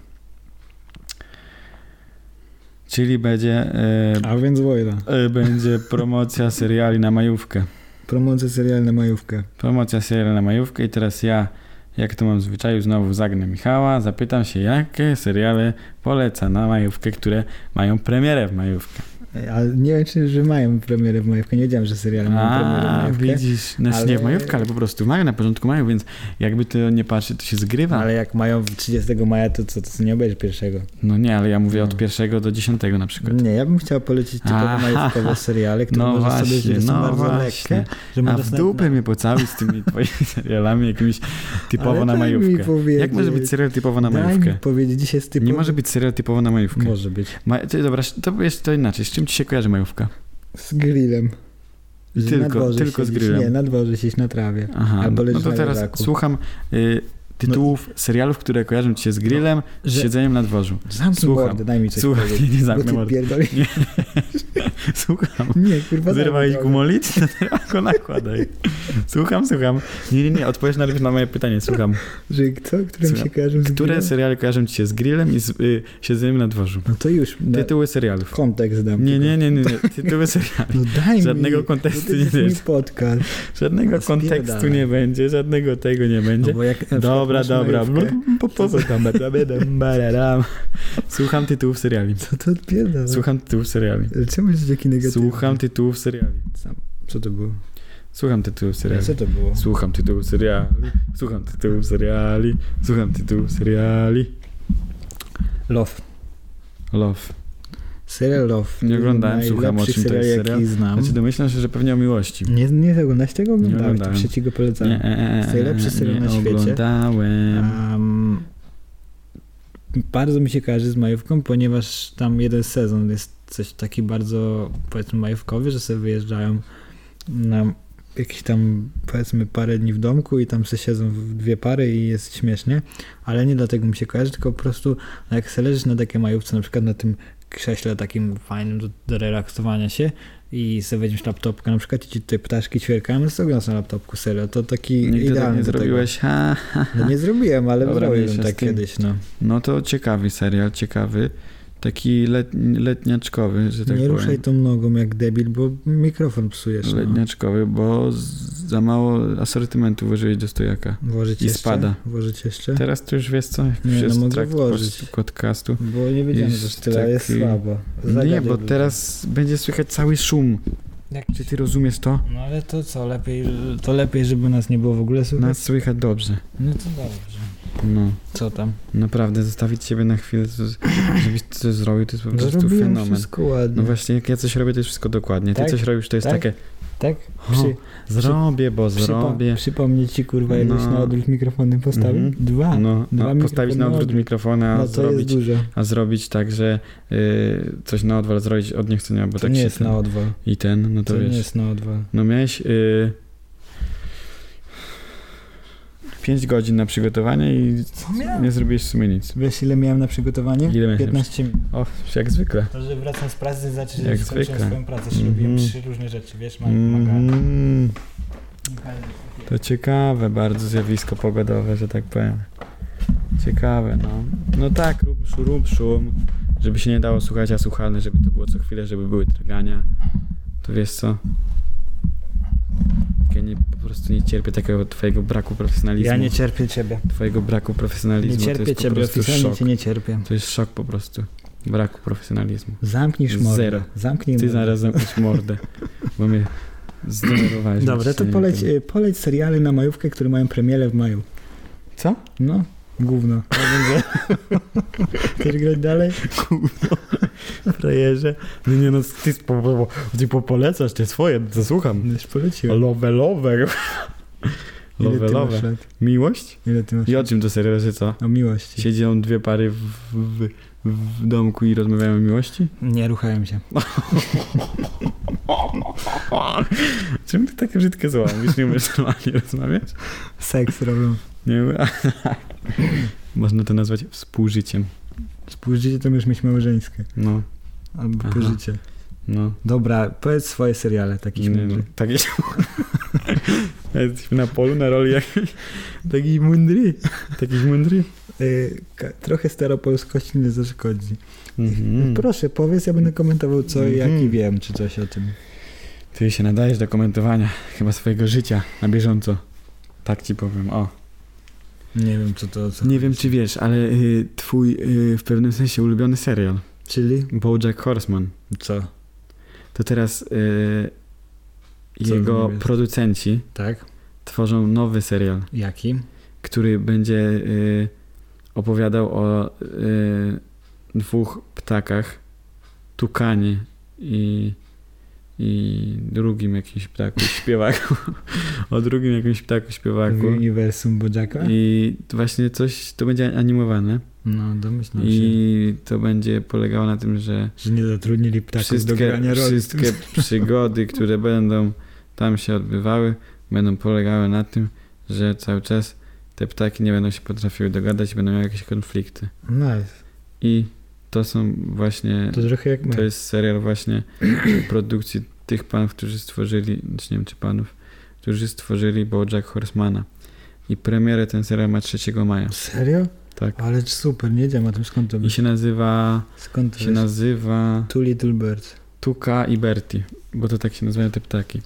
Speaker 1: Czyli będzie, e,
Speaker 2: A więc wojna.
Speaker 1: e, będzie promocja seriali na majówkę.
Speaker 2: Promocja serialna majówkę.
Speaker 1: Promocja seriali na majówkę i teraz ja, jak to mam w zwyczaju, znowu zagnę Michała, zapytam się, jakie seriale poleca na majówkę, które mają premierę w majówkę.
Speaker 2: E, Ale nie wiem, czy że mają premierę w majówkę. Nie wiedziałem, że serial ma premierę w
Speaker 1: A,
Speaker 2: majówkę.
Speaker 1: widzisz, znaczy nie w
Speaker 2: Ale-
Speaker 1: majówkę, ale po prostu w maju, na początku maju, więc jakby to nie patrzy, to się zgrywa.
Speaker 2: Ale jak mają w 30 maja, to co, to co nie obejrzysz pierwszego?
Speaker 1: No nie, ale ja mówię od
Speaker 2: No.
Speaker 1: pierwszego do dziesiątego na przykład.
Speaker 2: Nie, ja bym chciał polecić typowo
Speaker 1: Aha.
Speaker 2: majówkowe seriale, które
Speaker 1: No
Speaker 2: można
Speaker 1: właśnie,
Speaker 2: sobie które są
Speaker 1: no
Speaker 2: bardzo
Speaker 1: właśnie.
Speaker 2: lekkie. Że
Speaker 1: A
Speaker 2: można
Speaker 1: w
Speaker 2: sobie-
Speaker 1: dupę mnie pocałuj z tymi twoimi serialami jakimiś typowo
Speaker 2: Ale
Speaker 1: na
Speaker 2: daj Mi
Speaker 1: majówkę.
Speaker 2: powiedzieć,
Speaker 1: Jak może być serial typowo na
Speaker 2: daj
Speaker 1: majówkę?
Speaker 2: Mi powiedzieć, dzisiaj jest typowo...
Speaker 1: Nie może być serial typowo na majówkę.
Speaker 2: Może być.
Speaker 1: Ma... Ty, dobra, to jest to inaczej. Z czym ci się kojarzy majówka?
Speaker 2: Z grillem.
Speaker 1: I
Speaker 2: Że
Speaker 1: tylko-
Speaker 2: na dworze
Speaker 1: tylko z
Speaker 2: siedzisz.
Speaker 1: grillem.
Speaker 2: Nie, na dworze siedzisz na trawie.
Speaker 1: Aha,
Speaker 2: Albo
Speaker 1: no
Speaker 2: leżysz
Speaker 1: to
Speaker 2: na
Speaker 1: teraz
Speaker 2: leżaku.
Speaker 1: słucham y, tytułów serialów, które kojarzą ci się z grillem, z
Speaker 2: że-
Speaker 1: siedzeniem na dworzu.
Speaker 2: Zamknij
Speaker 1: Słucham.
Speaker 2: mordę, daj mi coś
Speaker 1: Słuchaj,
Speaker 2: powiedzieć.
Speaker 1: nie
Speaker 2: Bo
Speaker 1: zamknę
Speaker 2: ty
Speaker 1: mordy.
Speaker 2: pierdolisz.
Speaker 1: Słucham.
Speaker 2: Nie, kurwa, daj mi
Speaker 1: Zerwałeś
Speaker 2: mordę.
Speaker 1: gumolit? To teraz go nakładaj. Słucham, słucham. Nie, nie, nie, odpowiedz najpierw na moje pytanie, słucham.
Speaker 2: Że co? Którym
Speaker 1: Słucham.
Speaker 2: się kojarzą z
Speaker 1: Które
Speaker 2: grillem?
Speaker 1: seriale kojarzą ci się z grillem i z y, siedzeniem na dworzu?
Speaker 2: No to już, na
Speaker 1: Tytuły serialów.
Speaker 2: kontekst dam.
Speaker 1: Nie,
Speaker 2: tylko.
Speaker 1: nie, nie, nie, nie. tytuły seriali.
Speaker 2: No daj mi.
Speaker 1: Żadnego
Speaker 2: No
Speaker 1: kontekstu
Speaker 2: to
Speaker 1: nie
Speaker 2: jest mój
Speaker 1: będzie.
Speaker 2: podcast.
Speaker 1: Żadnego
Speaker 2: Spierdalaj.
Speaker 1: kontekstu nie będzie, żadnego tego nie
Speaker 2: No
Speaker 1: będzie.
Speaker 2: bo jak, na
Speaker 1: Dobra,
Speaker 2: przykład masz
Speaker 1: dobra.
Speaker 2: majówkę,
Speaker 1: Po- po- po- tam, ba- ba- dam, ba- da- dam. Słucham tytułów seriali.
Speaker 2: To to odpierdala.
Speaker 1: Słucham tytułów seriali.
Speaker 2: Czemu jesteś taki negatywny?
Speaker 1: Słucham tytułów seriali.
Speaker 2: Co to było?
Speaker 1: Słucham tytułów seriali.
Speaker 2: Co to było?
Speaker 1: Słucham tytułów seriali, słucham tytułów seriali, słucham tytułów seriali.
Speaker 2: Love.
Speaker 1: Love.
Speaker 2: Serial Love.
Speaker 1: Nie oglądałem, słucham, o czym to jest
Speaker 2: serial,
Speaker 1: serial.
Speaker 2: jaki znam.
Speaker 1: Znaczy domyślam się, że pewnie o miłości.
Speaker 2: Nie, nie oglądałeś tego? Oglądałem.
Speaker 1: oglądałem.
Speaker 2: to przecież go polecam.
Speaker 1: Nie, e, e,
Speaker 2: To najlepszy serial
Speaker 1: nie
Speaker 2: na świecie.
Speaker 1: oglądałem.
Speaker 2: Em, bardzo mi się kojarzy z majówką, ponieważ tam jeden sezon jest coś taki bardzo, powiedzmy, majówkowy, że sobie wyjeżdżają na jakieś tam, powiedzmy, parę dni w domku i tam se siedzą w dwie pary i jest śmiesznie, ale nie dlatego mi się kojarzy, tylko po prostu no jak se leżysz na takiej majówce, na przykład na tym krześle takim fajnym do, do relaksowania się i sobie weźmiesz laptopkę na przykład i ci tutaj ptaszki ćwierkają, no to oglądasz na laptopku serio, to taki
Speaker 1: Nigdy tak
Speaker 2: idealny
Speaker 1: nie
Speaker 2: do tego.
Speaker 1: zrobiłeś. Ha, ha,
Speaker 2: No
Speaker 1: ha.
Speaker 2: nie zrobiłem, ale
Speaker 1: Dobra,
Speaker 2: zrobiłem
Speaker 1: mniejsza z
Speaker 2: tak
Speaker 1: tym.
Speaker 2: kiedyś, no.
Speaker 1: No to ciekawy serial, ciekawy. Taki let, letniaczkowy, że tak
Speaker 2: nie
Speaker 1: powiem.
Speaker 2: ruszaj tą nogą jak debil, bo mikrofon psujesz, no.
Speaker 1: Letniaczkowy, bo z, za mało asortymentu włożyłeś do stojaka.
Speaker 2: Włożyć
Speaker 1: I
Speaker 2: jeszcze?
Speaker 1: spada.
Speaker 2: Włożyć jeszcze?
Speaker 1: Teraz to już wiesz co, jak
Speaker 2: Nie,
Speaker 1: już
Speaker 2: no
Speaker 1: jest
Speaker 2: mogę
Speaker 1: trakt
Speaker 2: włożyć.
Speaker 1: pod- podcastu.
Speaker 2: Bo nie wiedziałem,
Speaker 1: Jest
Speaker 2: że tyle jest
Speaker 1: taki-
Speaker 2: słabo.
Speaker 1: tak- nie,
Speaker 2: Zagadaj
Speaker 1: bo
Speaker 2: ludziom.
Speaker 1: teraz będzie słychać cały szum.
Speaker 2: Jak-
Speaker 1: Czy ty rozumiesz to?
Speaker 2: No ale to co, lepiej, to lepiej, żeby nas nie było w ogóle słychać?
Speaker 1: Nas słychać dobrze.
Speaker 2: No to dobrze.
Speaker 1: No,
Speaker 2: Co tam?
Speaker 1: naprawdę, zostawić ciebie na chwilę, to, żebyś ty coś zrobił, to jest po prostu
Speaker 2: Zrobiłem
Speaker 1: fenomen.
Speaker 2: wszystko ładnie.
Speaker 1: No właśnie, jak ja coś robię, to jest wszystko dokładnie. Ty
Speaker 2: Tak?
Speaker 1: coś robisz, to jest
Speaker 2: Tak?
Speaker 1: takie
Speaker 2: Tak?
Speaker 1: o,
Speaker 2: Przy,
Speaker 1: zrobię, bo
Speaker 2: przypa-
Speaker 1: zrobię.
Speaker 2: przypomnieć ci kurwa, jakbyś
Speaker 1: No.
Speaker 2: na odwrót mikrofony postawił?
Speaker 1: Mhm.
Speaker 2: Dwa. No,
Speaker 1: No,
Speaker 2: dwa
Speaker 1: a postawić na
Speaker 2: mikrofony
Speaker 1: odwrót
Speaker 2: obok.
Speaker 1: mikrofony, a
Speaker 2: No, to jest
Speaker 1: zrobić,
Speaker 2: dużo.
Speaker 1: a zrobić tak, że y, coś na odwal zrobić od niechcenia, bo
Speaker 2: To
Speaker 1: tak
Speaker 2: nie
Speaker 1: się
Speaker 2: jest
Speaker 1: ten,
Speaker 2: na odwal.
Speaker 1: i ten, no y, to,
Speaker 2: To nie
Speaker 1: wiesz.
Speaker 2: jest na odwal.
Speaker 1: No miałeś y, 5 godzin na przygotowanie i nie zrobiłeś w sumie nic.
Speaker 2: Wiesz, ile miałem na przygotowanie?
Speaker 1: Ile miałeś na
Speaker 2: 15 minut.
Speaker 1: O, jak zwykle.
Speaker 2: To, że wracam z pracy, znaczy,
Speaker 1: Jak
Speaker 2: że skończyłem
Speaker 1: zwykle.
Speaker 2: swoją pracę, że
Speaker 1: Mhm.
Speaker 2: robiłem trzy różne rzeczy, wiesz, Mike, mm.
Speaker 1: Mm, to ciekawe bardzo zjawisko pogodowe, że tak powiem. Ciekawe, no. No tak, rób, szum, rób szum, żeby się nie dało słuchać, a słuchalne, żeby to było co chwilę, żeby były drgania. To wiesz co? Ja nie, po prostu nie cierpię takiego twojego braku profesjonalizmu.
Speaker 2: Ja nie cierpię ciebie.
Speaker 1: Twojego braku
Speaker 2: Nie
Speaker 1: profesjonalizmu. to
Speaker 2: cierpię
Speaker 1: jest po
Speaker 2: ciebie,
Speaker 1: prostu szok.
Speaker 2: oficjalnie cię nie cierpię.
Speaker 1: To jest szok po prostu. Braku profesjonalizmu.
Speaker 2: Zamknij szmorę.
Speaker 1: Zero.
Speaker 2: Zamknij
Speaker 1: Ty
Speaker 2: mordę.
Speaker 1: zaraz zamknij mordę, bo mnie zdenerwowałeś.
Speaker 2: Dobra, to
Speaker 1: myśleniem
Speaker 2: poleć,
Speaker 1: tym.
Speaker 2: y, poleć seriale na majówkę, które mają premierę w maju.
Speaker 1: Co?
Speaker 2: No, gówno. Chcesz grać dalej?
Speaker 1: Frajerze. No nie no, ty, po, po, ty po polecasz te swoje, to słucham.
Speaker 2: No już poleciłem.
Speaker 1: Love, love.
Speaker 2: Ile
Speaker 1: Love,
Speaker 2: ty
Speaker 1: love.
Speaker 2: masz lat?
Speaker 1: Miłość?
Speaker 2: Ile ty masz
Speaker 1: I o czym to serial, że co?
Speaker 2: O miłości.
Speaker 1: Siedzą dwie pary w, w, w domku i rozmawiają o miłości?
Speaker 2: Nie ruchałem się.
Speaker 1: Czym ty takie brzydkie słowa mówisz? Nie umiesz normalnie rozmawiać?
Speaker 2: Seks robią.
Speaker 1: Nie umie- Można to nazwać współżyciem.
Speaker 2: Spójrzycie, to już mieć małżeńskie.
Speaker 1: No,
Speaker 2: Albo
Speaker 1: Aha.
Speaker 2: pożycie.
Speaker 1: no.
Speaker 2: Dobra, powiedz swoje seriale, taki
Speaker 1: Nie,
Speaker 2: mądry.
Speaker 1: no, Taki Jesteśmy na polu, na roli jak... Taki mundry. Taki mundry.
Speaker 2: Y, ka- trochę staropolskości nie zaszkodzi.
Speaker 1: Mhm.
Speaker 2: Proszę, powiedz, ja będę komentował co i jak
Speaker 1: Mhm.
Speaker 2: i wiem, czy coś o tym.
Speaker 1: Ty się nadajesz do komentowania chyba swojego życia na bieżąco. Tak ci powiem, o.
Speaker 2: Nie wiem, co to... Co
Speaker 1: Nie wiem, czy wiesz, ale y, twój y, w pewnym sensie ulubiony serial,
Speaker 2: Czyli?
Speaker 1: BoJack Horseman,
Speaker 2: Co?
Speaker 1: to teraz y,
Speaker 2: Co w
Speaker 1: jego
Speaker 2: nim jest?
Speaker 1: producenci
Speaker 2: Tak?
Speaker 1: tworzą nowy serial.
Speaker 2: Jaki?
Speaker 1: który będzie y, opowiadał o y, dwóch ptakach, tukanie i, i drugim jakimś ptaku, śpiewaku. o drugim jakimś ptaku,
Speaker 2: W
Speaker 1: śpiewaku.
Speaker 2: uniwersum Bodziaka?
Speaker 1: I właśnie coś, to będzie animowane
Speaker 2: No, domyślam się.
Speaker 1: i to będzie polegało na tym, że
Speaker 2: Że nie zatrudnili ptaków do
Speaker 1: wszystkie,
Speaker 2: grania roli.
Speaker 1: wszystkie przygody, które będą tam się odbywały, będą polegały na tym, że cały czas te ptaki nie będą się potrafiły dogadać, będą miały jakieś konflikty.
Speaker 2: Nice.
Speaker 1: I to są właśnie,
Speaker 2: To trochę jak my.
Speaker 1: to jest serial właśnie produkcji tych panów, którzy stworzyli, znaczy nie wiem czy panów, którzy stworzyli BoJack Horsemana. I premierę ten serial ma 3 maja.
Speaker 2: Serio?
Speaker 1: Tak.
Speaker 2: Ale super, nie wiem o tym skąd to
Speaker 1: I
Speaker 2: wiesz.
Speaker 1: się nazywa,
Speaker 2: Skąd to
Speaker 1: się
Speaker 2: wiesz?
Speaker 1: nazywa
Speaker 2: Two Little Birds.
Speaker 1: Tuka i Berti, bo to tak się nazywają te ptaki.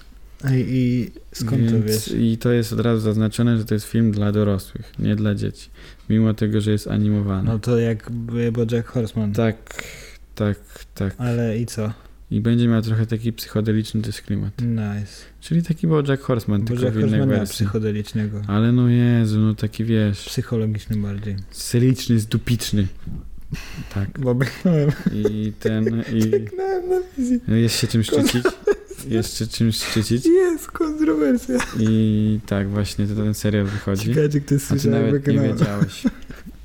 Speaker 2: Ej, i skąd to
Speaker 1: Więc-
Speaker 2: wiesz?
Speaker 1: I to jest od razu zaznaczone, że to jest film dla dorosłych, nie dla dzieci. Mimo tego, że jest animowany.
Speaker 2: No to jak by- bo Jack Horseman.
Speaker 1: Tak, tak, tak.
Speaker 2: Ale i co?
Speaker 1: I będzie miał trochę taki psychodeliczny też klimat.
Speaker 2: Nice.
Speaker 1: Czyli taki był Jack Horseman,
Speaker 2: Bo
Speaker 1: tylko
Speaker 2: Jack
Speaker 1: w innej
Speaker 2: Horseman miał
Speaker 1: wersji.
Speaker 2: psychodelicznego.
Speaker 1: Ale no Jezu, no taki wiesz,
Speaker 2: Psychologiczny bardziej.
Speaker 1: syliczny, zdupiczny. Tak.
Speaker 2: Bo biegnąłem,
Speaker 1: I ten, i...
Speaker 2: biegnąłem na wizji.
Speaker 1: Jest się czym szczycić. Jeszcze czymś szczycić.
Speaker 2: Jest kontrowersja.
Speaker 1: I tak właśnie, to ten serial wychodzi.
Speaker 2: Ciekawe, czy ktoś
Speaker 1: A ty
Speaker 2: słyszał, jak
Speaker 1: Znaczy nawet nie
Speaker 2: wykonałem.
Speaker 1: wiedziałeś.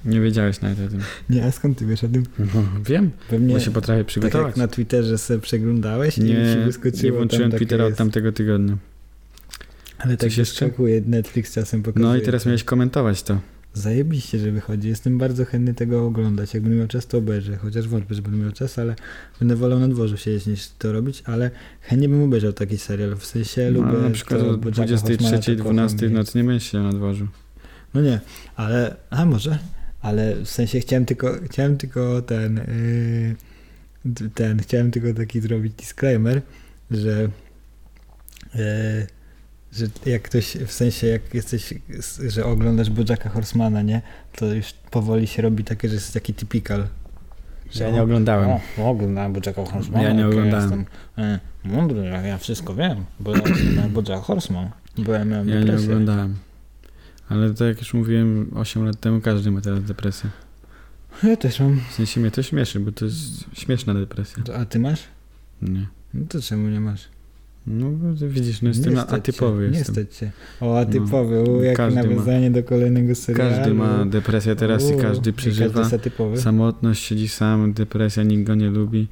Speaker 1: Nie wiedziałeś nawet o tym.
Speaker 2: Nie, a skąd ty wiesz o tym?
Speaker 1: No, wiem,
Speaker 2: Pewnie
Speaker 1: bo się potrafię
Speaker 2: tak
Speaker 1: przygotować.
Speaker 2: jak na Twitterze sobie przeglądałeś i ci
Speaker 1: nie,
Speaker 2: wyskoczyło
Speaker 1: nie
Speaker 2: tam
Speaker 1: włączyłem
Speaker 2: takie
Speaker 1: Twittera od
Speaker 2: jest.
Speaker 1: tamtego tygodnia.
Speaker 2: Ale tak
Speaker 1: Coś
Speaker 2: się
Speaker 1: jeszcze?
Speaker 2: szokuje, Netflix czasem pokazuje.
Speaker 1: No i teraz miałeś komentować to.
Speaker 2: Zajebiście, że wychodzi. Jestem bardzo chętny tego oglądać. Jak będę miał czas, to obejrzę. Chociaż wątpię, że będę miał czas, ale będę wolał na dworzu siedzieć niż to robić, ale chętnie bym obejrzał taki serial. W sensie
Speaker 1: No,
Speaker 2: lubię
Speaker 1: ale na przykład
Speaker 2: to,
Speaker 1: o
Speaker 2: bo Jacka Hoffmana to
Speaker 1: 23, 12 w
Speaker 2: kocham.
Speaker 1: nocy nie będziesz siedział na dworzu.
Speaker 2: No nie, ale... A może? Ale w sensie chciałem tylko, chciałem tylko ten... Yy, ten... Chciałem tylko taki zrobić disclaimer, że... Yy, że jak ktoś, w sensie jak jesteś, że oglądasz Bojacka Horsemana, nie? To już powoli się robi takie, że jest taki typical.
Speaker 1: Ja nie oglądałem.
Speaker 3: O, no oglądałem Bojacka Horsemana.
Speaker 1: Ja nie
Speaker 3: jak
Speaker 1: oglądałem.
Speaker 3: Jestem e, mądry, ja- ja wszystko wiem, bo ja oglądałem Bojack Horseman.
Speaker 2: Bo ja miałem
Speaker 1: Ja nie
Speaker 2: depresję.
Speaker 1: oglądałem. Ale tak jak już mówiłem 8 lat temu, każdy ma teraz depresję.
Speaker 2: No ja też mam.
Speaker 1: W sensie mnie to śmieszy, bo to jest śmieszna depresja.
Speaker 2: To- A ty masz?
Speaker 1: Nie.
Speaker 2: No to czemu nie masz?
Speaker 1: No bo ty widzisz, no jestem
Speaker 2: nie
Speaker 1: a-
Speaker 2: stać cię,
Speaker 1: atypowy.
Speaker 2: Nie
Speaker 1: jestem. No,
Speaker 2: stać cię. O, atypowy, u, jakie
Speaker 1: każdy ma.
Speaker 2: nawiązanie do kolejnego serialu.
Speaker 1: Każdy ma depresję teraz i
Speaker 2: U,
Speaker 1: każdy
Speaker 2: Każdy
Speaker 1: przeżywa.
Speaker 2: jest atypowy.
Speaker 1: Samotność, siedzi sam, depresja, nikt go nie lubi.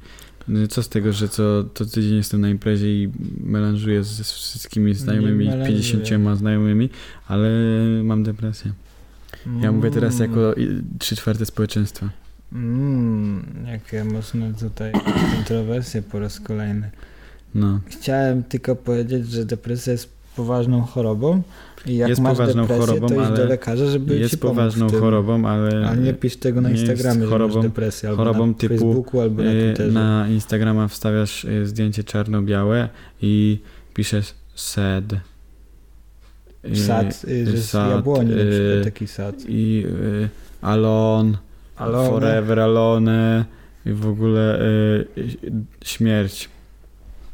Speaker 1: No i Co z tego, że co, co tydzień jestem na imprezie i melanżuję ze wszystkimi znajomymi,
Speaker 2: melanżuję.
Speaker 1: 50 znajomymi, ale mam depresję. Ja mówię teraz
Speaker 2: Mm.
Speaker 1: jako i- trzy czwarte społeczeństwa.
Speaker 2: Mm, jakie mocne tutaj kontrowersje po raz kolejny.
Speaker 1: No.
Speaker 2: Chciałem tylko powiedzieć, że depresja jest poważną chorobą i jak
Speaker 1: Jest
Speaker 2: masz
Speaker 1: poważną
Speaker 2: depresję,
Speaker 1: chorobą,
Speaker 2: to idź do
Speaker 1: ale
Speaker 2: lekarza, żeby No ci
Speaker 1: Jest
Speaker 2: pomógł
Speaker 1: poważną
Speaker 2: w tym.
Speaker 1: chorobą, ale, y,
Speaker 2: Ale nie pisz tego na
Speaker 1: nie jest
Speaker 2: Instagramie, że
Speaker 1: chorobą-
Speaker 2: masz depresję, albo
Speaker 1: chorobą
Speaker 2: na
Speaker 1: typu,
Speaker 2: Facebooku, albo na
Speaker 1: y,
Speaker 2: Twitterze.
Speaker 1: na Instagrama wstawiasz y, zdjęcie czarno-białe i piszesz sad. Y,
Speaker 2: Sad, y, że z
Speaker 1: sad,
Speaker 2: jabłoni na
Speaker 1: y,
Speaker 2: przykład taki sad.
Speaker 1: I y, alone.
Speaker 2: Ale one,
Speaker 1: Forever Alone i w ogóle y, y, śmierć.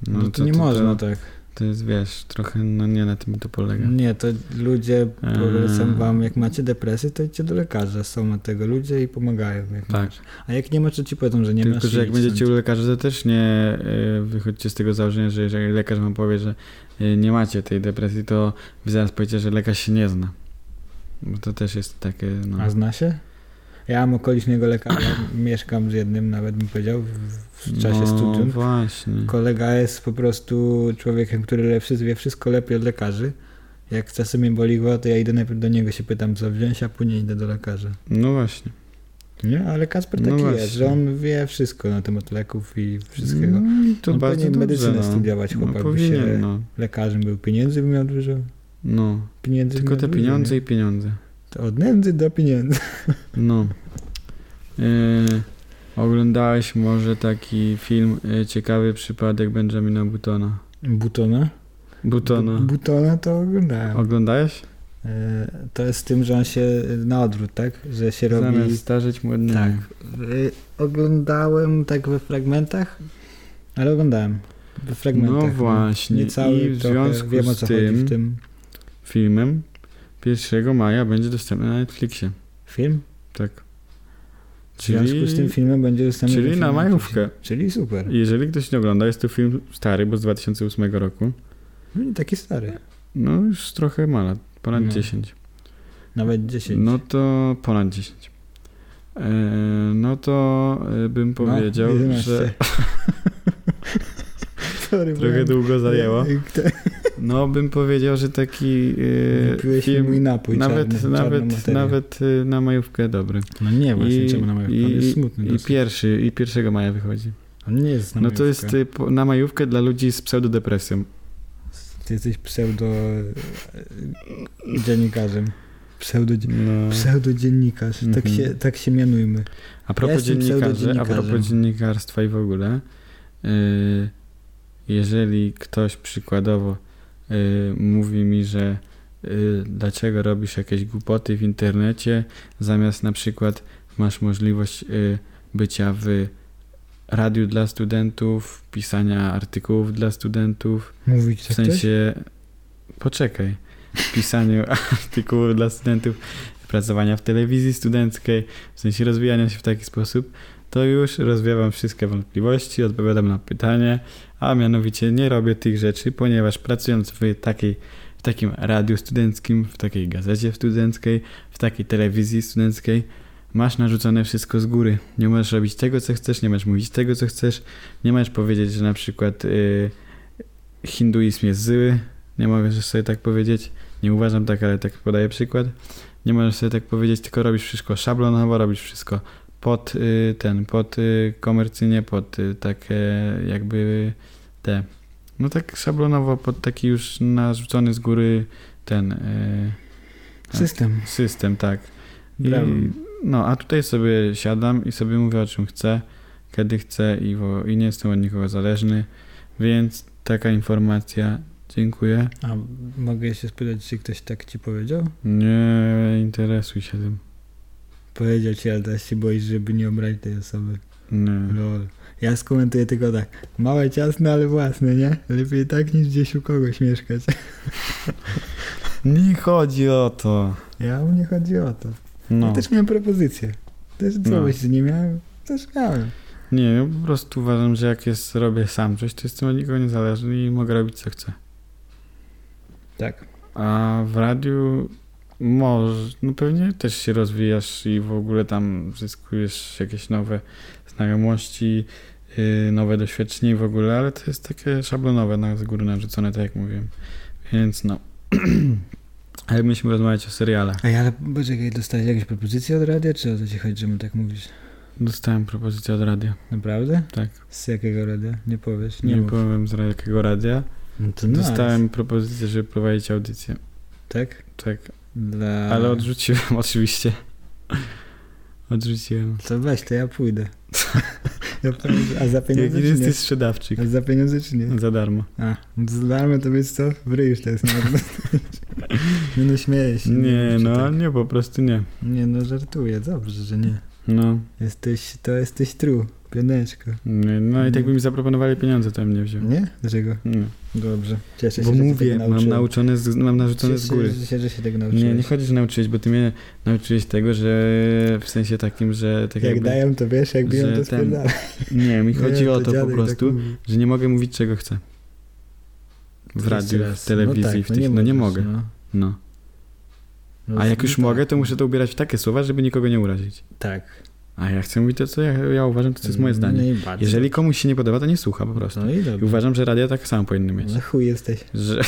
Speaker 2: no, to, nie
Speaker 1: to,
Speaker 2: można
Speaker 1: To,
Speaker 2: tak.
Speaker 1: to jest, wiesz, trochę, no nie na tym to polega.
Speaker 2: Nie, to ludzie
Speaker 1: Eee.
Speaker 2: polecam wam, jak macie depresję, to idźcie do lekarza, są od tego ludzie i pomagają. Jak
Speaker 1: Tak,
Speaker 2: masz. A jak nie masz, to ci powiedzą, że nie masz.
Speaker 1: tylko że
Speaker 2: i
Speaker 1: jak
Speaker 2: idź
Speaker 1: będziecie
Speaker 2: stąd.
Speaker 1: u lekarza, to też nie y, wychodźcie z tego założenia, że jeżeli lekarz wam powie, że y, nie macie tej depresji, to wy zaraz powiecie, że lekarz się nie zna. Bo to też jest takie, no...
Speaker 2: A zna się? Ja mam okolicznego lekarza, mieszkam z jednym nawet, bym powiedział, w, w czasie
Speaker 1: no,
Speaker 2: studium.
Speaker 1: właśnie.
Speaker 2: Kolega jest po prostu człowiekiem, który lepszy wie wszystko lepiej od lekarzy. Jak czasem mnie boli głowa, to ja idę najpierw do niego się pytam, co wziąć, a później idę do lekarza.
Speaker 1: No właśnie.
Speaker 2: Nie, ale Kasper
Speaker 1: No
Speaker 2: taki
Speaker 1: właśnie.
Speaker 2: jest, że on wie wszystko na temat leków i wszystkiego.
Speaker 1: No i to
Speaker 2: On
Speaker 1: bardzo
Speaker 2: powinien
Speaker 1: dobrze,
Speaker 2: medycynę
Speaker 1: no.
Speaker 2: studiować, chłopak,
Speaker 1: no,
Speaker 2: by
Speaker 1: powinien,
Speaker 2: się-
Speaker 1: no.
Speaker 2: Lekarzem był, pieniędzy by miał dużo.
Speaker 1: no.
Speaker 2: Pieniędzy by
Speaker 1: Tylko
Speaker 2: miał
Speaker 1: te
Speaker 2: dużo,
Speaker 1: pieniądze
Speaker 2: nie?
Speaker 1: i pieniądze.
Speaker 2: To od nędzy do pieniędzy.
Speaker 1: No. Yy, oglądałeś może taki film y, Ciekawy przypadek Benjamina Buttona.
Speaker 2: Butona?
Speaker 1: Buttona.
Speaker 2: Bu- Butona to oglądałem.
Speaker 1: Oglądałeś?
Speaker 2: E, To jest z tym, że on się na odwrót, tak? Że się robi.
Speaker 1: Zamiast starzeć młodnie.
Speaker 2: Tak. E, Oglądałem tak we fragmentach, ale oglądałem. We fragmentach.
Speaker 1: No właśnie.
Speaker 2: Nie cały
Speaker 1: I w
Speaker 2: trochę
Speaker 1: związku
Speaker 2: wiem o
Speaker 1: z
Speaker 2: co chodzi
Speaker 1: tym
Speaker 2: w tym
Speaker 1: filmem 1 maja będzie dostępny na Netflixie.
Speaker 2: film.
Speaker 1: Tak.
Speaker 2: W związku z tym filmem będzie dostępny.
Speaker 1: czyli
Speaker 2: film
Speaker 1: na majówkę.
Speaker 2: Czyli super.
Speaker 1: Jeżeli ktoś nie ogląda, jest to film stary, bo z 2008 roku.
Speaker 2: Nie taki stary.
Speaker 1: No już trochę ma lat, ponad
Speaker 2: No.
Speaker 1: 10.
Speaker 2: Nawet 10.
Speaker 1: No to ponad 10. E, No to e,
Speaker 2: No,
Speaker 1: bym powiedział, że
Speaker 2: Sorry,
Speaker 1: trochę
Speaker 2: byłem-
Speaker 1: długo zajęło.
Speaker 2: Kto-
Speaker 1: No bym powiedział, że taki e,
Speaker 2: Wypiłeś mi mój
Speaker 1: film
Speaker 2: napój
Speaker 1: nawet,
Speaker 2: czarny, czarną
Speaker 1: nawet,
Speaker 2: materię.
Speaker 1: nawet e, na majówkę dobry.
Speaker 2: No nie, właśnie
Speaker 1: I-
Speaker 2: czemu na majówkę? On jest smutny
Speaker 1: I
Speaker 2: No dosyć.
Speaker 1: pierwszy, i pierwszego maja wychodzi.
Speaker 2: On nie jest na
Speaker 1: No to
Speaker 2: majówkę.
Speaker 1: jest e, po- na majówkę dla ludzi z pseudodepresją.
Speaker 2: Ty jesteś pseudo... e, dziennikarzem. Pseudo...
Speaker 1: No.
Speaker 2: Pseudodziennikarz, tak,
Speaker 1: Mhm.
Speaker 2: się, tak się mianujmy.
Speaker 1: A propos
Speaker 2: jestem
Speaker 1: dziennikarzy, a
Speaker 2: pseudodziennikarzem.
Speaker 1: propos dziennikarstwa i w ogóle, y, jeżeli ktoś przykładowo y, mówi mi, że y, dlaczego robisz jakieś głupoty w internecie, zamiast na przykład masz możliwość y, bycia w radiu dla studentów, pisania artykułów dla studentów,
Speaker 2: Mówić
Speaker 1: w
Speaker 2: tak coś?
Speaker 1: sensie poczekaj, w pisaniu artykułów dla studentów, pracowania w telewizji studenckiej, w sensie rozwijania się w taki sposób, to już rozwiewam wszystkie wątpliwości, odpowiadam na pytanie, a mianowicie nie robię tych rzeczy, ponieważ pracując w takiej w takim radiu studenckim, w takiej gazecie studenckiej, w takiej telewizji studenckiej masz narzucone wszystko z góry. Nie możesz robić tego, co chcesz, nie możesz mówić tego, co chcesz, nie możesz powiedzieć, że na przykład y, hinduizm jest zły, nie możesz sobie tak powiedzieć, nie uważam tak, ale tak podaję przykład. Nie możesz sobie tak powiedzieć, tylko robisz wszystko szablonowo, robisz wszystko pod y, ten, pod y, komercyjnie, pod y, takie jakby te. No tak szablonowo, pod taki już narzucony z góry ten y,
Speaker 2: tak. System.
Speaker 1: system, tak. I,
Speaker 2: Brawo.
Speaker 1: no, a tutaj sobie siadam i sobie mówię o czym chcę, kiedy chcę i, wo, i nie jestem od nikogo zależny, więc taka informacja. Dziękuję.
Speaker 2: A mogę się spytać, czy ktoś tak ci powiedział?
Speaker 1: Nie interesuj się tym.
Speaker 2: Powiedział ci, ale teraz się boisz, żeby nie obrazić tej osoby.
Speaker 1: Nie.
Speaker 2: Lol. Ja skomentuję tylko tak. Małe, ciasne, ale własne, nie? Lepiej tak, niż gdzieś u kogoś mieszkać.
Speaker 1: Nie chodzi o to.
Speaker 2: Ja mu nie chodzi o to.
Speaker 1: No.
Speaker 2: Ja też miałem propozycję. Też co
Speaker 1: No.
Speaker 2: byś nie miałem? Też miałem.
Speaker 1: Nie, ja po prostu uważam, że jak jest, robię sam coś, to jestem od nikogo niezależny i mogę robić co chcę.
Speaker 2: Tak.
Speaker 1: A w radiu może, no pewnie też się rozwijasz i w ogóle tam zyskujesz jakieś nowe znajomości, yy, nowe doświadczenie i w ogóle, ale to jest takie szablonowe, na z góry narzucone, tak jak mówiłem. Więc no. Ale musimy rozmawiać o serialach.
Speaker 2: Ej, ale poczekaj, dostałeś jakieś propozycje od radia, czy o to ci chodzi, że mu tak mówisz?
Speaker 1: Dostałem propozycję od radia.
Speaker 2: Naprawdę?
Speaker 1: Tak.
Speaker 2: Z jakiego radia? Nie powiesz?
Speaker 1: Nie,
Speaker 2: mów.
Speaker 1: powiem z jakiego radia.
Speaker 2: No to nice.
Speaker 1: Dostałem propozycję, żeby prowadzić audycję.
Speaker 2: Tak?
Speaker 1: Tak,
Speaker 2: Dla...
Speaker 1: ale odrzuciłem oczywiście. Odrzuciłem.
Speaker 2: To weź, to ja pójdę. ja powiem, że- a za pieniądze
Speaker 1: Jaki
Speaker 2: czy Tak znaczy nie? Tak.
Speaker 1: jesteś sprzedawczyk?
Speaker 2: A za pieniądze czy nie?
Speaker 1: Za darmo.
Speaker 2: A, zdarmy to wiesz co? W ryj już to jest naprawdę. Nie no śmieję się.
Speaker 1: Nie,
Speaker 2: wiem, czy
Speaker 1: no
Speaker 2: tak.
Speaker 1: nie, po prostu nie.
Speaker 2: Nie no żartuję, dobrze, że nie.
Speaker 1: No,
Speaker 2: Jesteś, to jesteś true, pioneczko.
Speaker 1: nie, no i tak by mi zaproponowali pieniądze, to bym nie wziął.
Speaker 2: Nie? Dlaczego?
Speaker 1: Nie.
Speaker 2: Dobrze. Cieszę się,
Speaker 1: Bo
Speaker 2: że
Speaker 1: mówię,
Speaker 2: się tego
Speaker 1: mam
Speaker 2: nauczyłem.
Speaker 1: nauczone, z, mam narzucone z
Speaker 2: Cieszę
Speaker 1: góry.
Speaker 2: się, że się tego
Speaker 1: Nie,
Speaker 2: nauczyłem.
Speaker 1: nie tak chodzi, że nauczyłeś, bo ty mnie nauczyłeś tego, że w sensie takim, że tak
Speaker 2: jak
Speaker 1: jakby...
Speaker 2: dają, to wiesz, jak biją,
Speaker 1: że
Speaker 2: to
Speaker 1: ten-
Speaker 2: spierdala.
Speaker 1: Nie, mi chodzi
Speaker 2: Nie,
Speaker 1: o to po
Speaker 2: dziadek tak
Speaker 1: prostu,
Speaker 2: mówi.
Speaker 1: że nie mogę mówić czego chcę. W
Speaker 2: Jeszcze
Speaker 1: radiu,
Speaker 2: raz.
Speaker 1: w telewizji,
Speaker 2: no tak,
Speaker 1: w tych, no, nie
Speaker 2: możesz,
Speaker 1: mogę.
Speaker 2: no.
Speaker 1: No.
Speaker 2: No
Speaker 1: A
Speaker 2: z-
Speaker 1: jak już
Speaker 2: no
Speaker 1: mogę,
Speaker 2: tak.
Speaker 1: to muszę to ubierać w takie słowa, żeby nikogo nie urazić.
Speaker 2: Tak.
Speaker 1: A ja chcę mówić to, co ja, ja uważam, to co jest moje
Speaker 2: No
Speaker 1: zdanie.
Speaker 2: i bardzo.
Speaker 1: Jeżeli komuś się nie podoba, to nie słucha po prostu.
Speaker 2: No i
Speaker 1: I
Speaker 2: dobrze.
Speaker 1: uważam, że radia tak samo powinny mieć.
Speaker 2: No chuj jesteś.
Speaker 1: Że,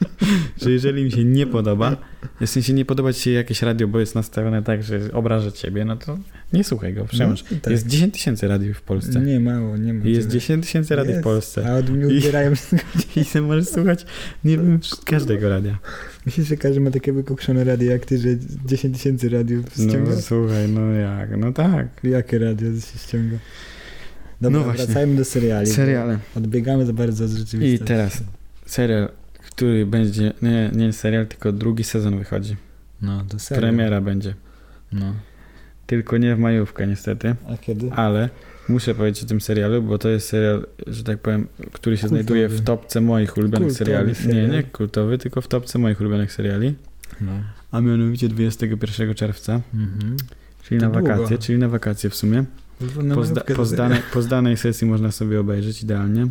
Speaker 1: że jeżeli mi się nie podoba, w sensie nie podoba ci się jakieś radio, bo jest nastawione tak, że obraża ciebie, no to nie słuchaj go, przemyśl.
Speaker 2: No, tak.
Speaker 1: Jest 10 tysięcy radiów w Polsce.
Speaker 2: Nie, mało, nie ma.
Speaker 1: I jest
Speaker 2: tyle.
Speaker 1: 10 tysięcy radiów w
Speaker 2: Jest.
Speaker 1: Polsce.
Speaker 2: A od mnie
Speaker 1: I-
Speaker 2: ubierają się.
Speaker 1: I ty możesz słuchać nie wiem, każdego radia.
Speaker 2: Myślisz, że każdy ma takie wykokszone radio jak ty, że 10 tysięcy radiów ściąga?
Speaker 1: No słuchaj, no jak, no tak.
Speaker 2: Jakie radio się ściąga? Dobra,
Speaker 1: No właśnie.
Speaker 2: wracajmy do seriali. bo
Speaker 1: Seriale.
Speaker 2: Odbiegamy za bardzo od
Speaker 1: I
Speaker 2: rzeczywistości.
Speaker 1: teraz serial, który będzie, nie, nie serial, tylko drugi sezon wychodzi.
Speaker 2: No, to serial.
Speaker 1: Premiera będzie.
Speaker 2: No.
Speaker 1: Tylko nie w majówkę niestety.
Speaker 2: A kiedy?
Speaker 1: ale muszę powiedzieć o tym serialu, bo to jest serial, że tak powiem, który się
Speaker 2: Kultowy.
Speaker 1: znajduje w topce moich ulubionych
Speaker 2: Kultowy
Speaker 1: seriali.
Speaker 2: serial.
Speaker 1: Nie, nie kultowy, tylko w topce moich ulubionych seriali.
Speaker 2: No.
Speaker 1: A mianowicie 21 czerwca,
Speaker 2: Mhm.
Speaker 1: czyli
Speaker 2: To
Speaker 1: na
Speaker 2: długo.
Speaker 1: wakacje, czyli na wakacje w sumie.
Speaker 2: No,
Speaker 1: Po, zda, po, zdanej, po zdanej sesji można sobie obejrzeć idealnie.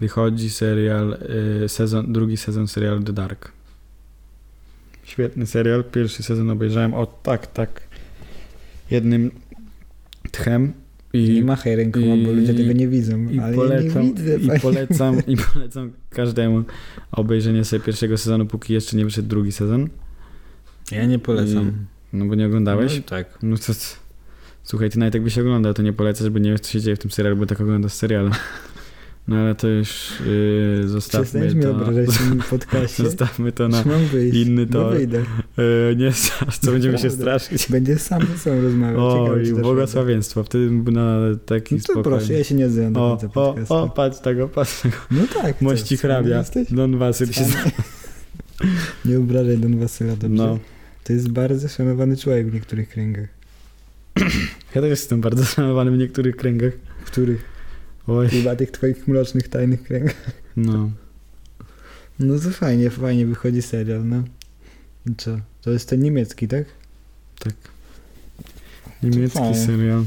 Speaker 1: Wychodzi serial, y, sezon, drugi sezon serialu The Dark. Świetny serial. Pierwszy sezon obejrzałem o tak, tak jednym tchem i
Speaker 2: nie machaj rękoma, bo
Speaker 1: i-
Speaker 2: ludzie tego nie widzą.
Speaker 1: i
Speaker 2: ale
Speaker 1: polecam,
Speaker 2: ja nie widzę.
Speaker 1: i,
Speaker 2: panie.
Speaker 1: polecam, I polecam każdemu obejrzenie sobie pierwszego sezonu, póki jeszcze nie wyszedł drugi sezon.
Speaker 3: Ja nie
Speaker 1: polecam. No bo nie oglądałeś.
Speaker 3: No, tak.
Speaker 1: No to, c- słuchaj, ty nawet jakbyś oglądał, to nie polecasz, bo nie wiesz, co się dzieje w tym serialu, bo tak oglądasz serial. No ale to już yy, zostawmy
Speaker 2: Przestaliśmy
Speaker 1: to.
Speaker 2: obrażać się w podcaście.
Speaker 1: Zostawmy to na.
Speaker 2: Już mam wyjść.
Speaker 1: inny
Speaker 2: No
Speaker 1: tor.
Speaker 2: wyjdę.
Speaker 1: Yy, nie strasz, co będziemy się
Speaker 2: Naprawdę.
Speaker 1: straszyć.
Speaker 2: Będzie sam ze sobą rozmawiał.
Speaker 1: O,
Speaker 2: Ciekawe,
Speaker 1: i
Speaker 2: czy też
Speaker 1: błogosławieństwo. Wtedy bym na taki
Speaker 2: No to
Speaker 1: spokojny.
Speaker 2: proszę, ja się nie odzywam do
Speaker 1: o,
Speaker 2: końca
Speaker 1: o,
Speaker 2: podcastu.
Speaker 1: o, patrz tego, patrz tego.
Speaker 2: No tak. co,
Speaker 1: Mości
Speaker 2: co, nie
Speaker 1: hrabia.
Speaker 2: jesteś?
Speaker 1: Don Wasyl się
Speaker 2: Nie obrażaj Don Wasyla, dobrze?
Speaker 1: No.
Speaker 2: To jest bardzo szanowany człowiek w niektórych kręgach.
Speaker 1: Ja też jestem bardzo szanowany w niektórych kręgach.
Speaker 2: W których?
Speaker 1: Oj,
Speaker 2: Chyba tych twoich mrocznych, tajnych kręgach.
Speaker 1: no.
Speaker 2: No to fajnie, fajnie wychodzi serial, no. I Co? To jest ten niemiecki, tak?
Speaker 1: Niemiecki
Speaker 3: Fajnie.
Speaker 1: serial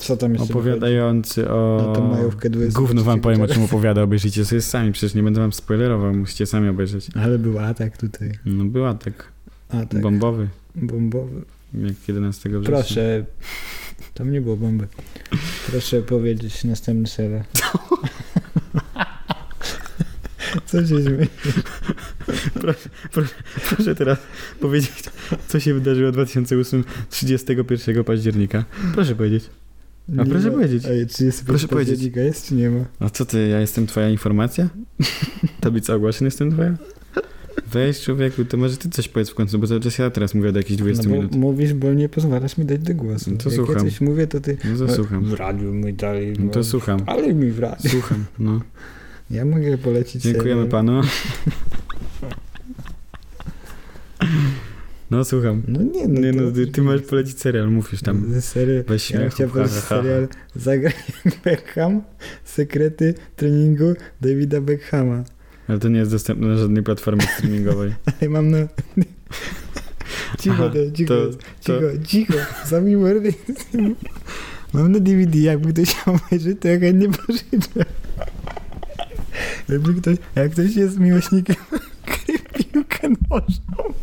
Speaker 2: Co tam jeszcze
Speaker 1: opowiadający o...
Speaker 2: Na tą majówkę 20.
Speaker 1: Gówno wam powiem, o czym opowiada. Obejrzyjcie sobie sami, przecież nie będę wam spoilerował. Musicie sami obejrzeć.
Speaker 2: Ale był atak tutaj.
Speaker 1: No była tak.
Speaker 2: Atak
Speaker 1: Bombowy.
Speaker 2: bombowy.
Speaker 1: Jak 11 września.
Speaker 2: Proszę. Tam nie było bomby. Proszę powiedzieć następny serial. Co się dzieje?
Speaker 1: Proszę teraz powiedzieć, co się wydarzyło w 2008 31 października. Proszę powiedzieć. A proszę powiedzieć.
Speaker 2: Ej, 30
Speaker 1: Proszę powiedzieć.
Speaker 2: października jest czy nie ma?
Speaker 1: A co ty, ja jestem twoja informacja? Tablica ogłoszeń jestem twoja? Weź człowieku, to może ty coś powiedz w końcu, bo cały czas ja teraz mówię od jakichś 20
Speaker 2: no, bo
Speaker 1: minut.
Speaker 2: mówisz, bo nie pozwalasz mi dać do głosu.
Speaker 1: No to
Speaker 2: Jak
Speaker 1: słucham.
Speaker 2: ja coś mówię, to ty...
Speaker 1: No to słucham.
Speaker 2: W radiu mi dali...
Speaker 1: No
Speaker 2: bo-
Speaker 1: to słucham.
Speaker 2: Ale mi w radiu.
Speaker 1: Słucham, no.
Speaker 2: Ja mogę polecić
Speaker 1: Dziękujemy
Speaker 2: serial.
Speaker 1: panu. No słucham.
Speaker 2: No nie, no,
Speaker 1: Nie
Speaker 2: to-
Speaker 1: no, ty, ty masz polecić serial, mówisz tam.
Speaker 2: Serial...
Speaker 1: Weź
Speaker 2: Ja bym
Speaker 1: śmiechu.
Speaker 2: chciał powiedzieć
Speaker 1: ha, ha, ha.
Speaker 2: serial Zagraj Beckham, sekrety treningu Davida Beckhama.
Speaker 1: Ale to nie jest dostępne na żadnej platformie streamingowej.
Speaker 2: Ale mam na... Cicho,
Speaker 1: Aha,
Speaker 2: to, cicho,
Speaker 1: to-
Speaker 2: cicho, cicho, zamknij mordy. Mam na DVD, jakby ktoś chciał obejrzeć, to ja chętnie pożyczę. Jakby ktoś, jak ktoś jest miłośnikiem gry w piłkę nożną,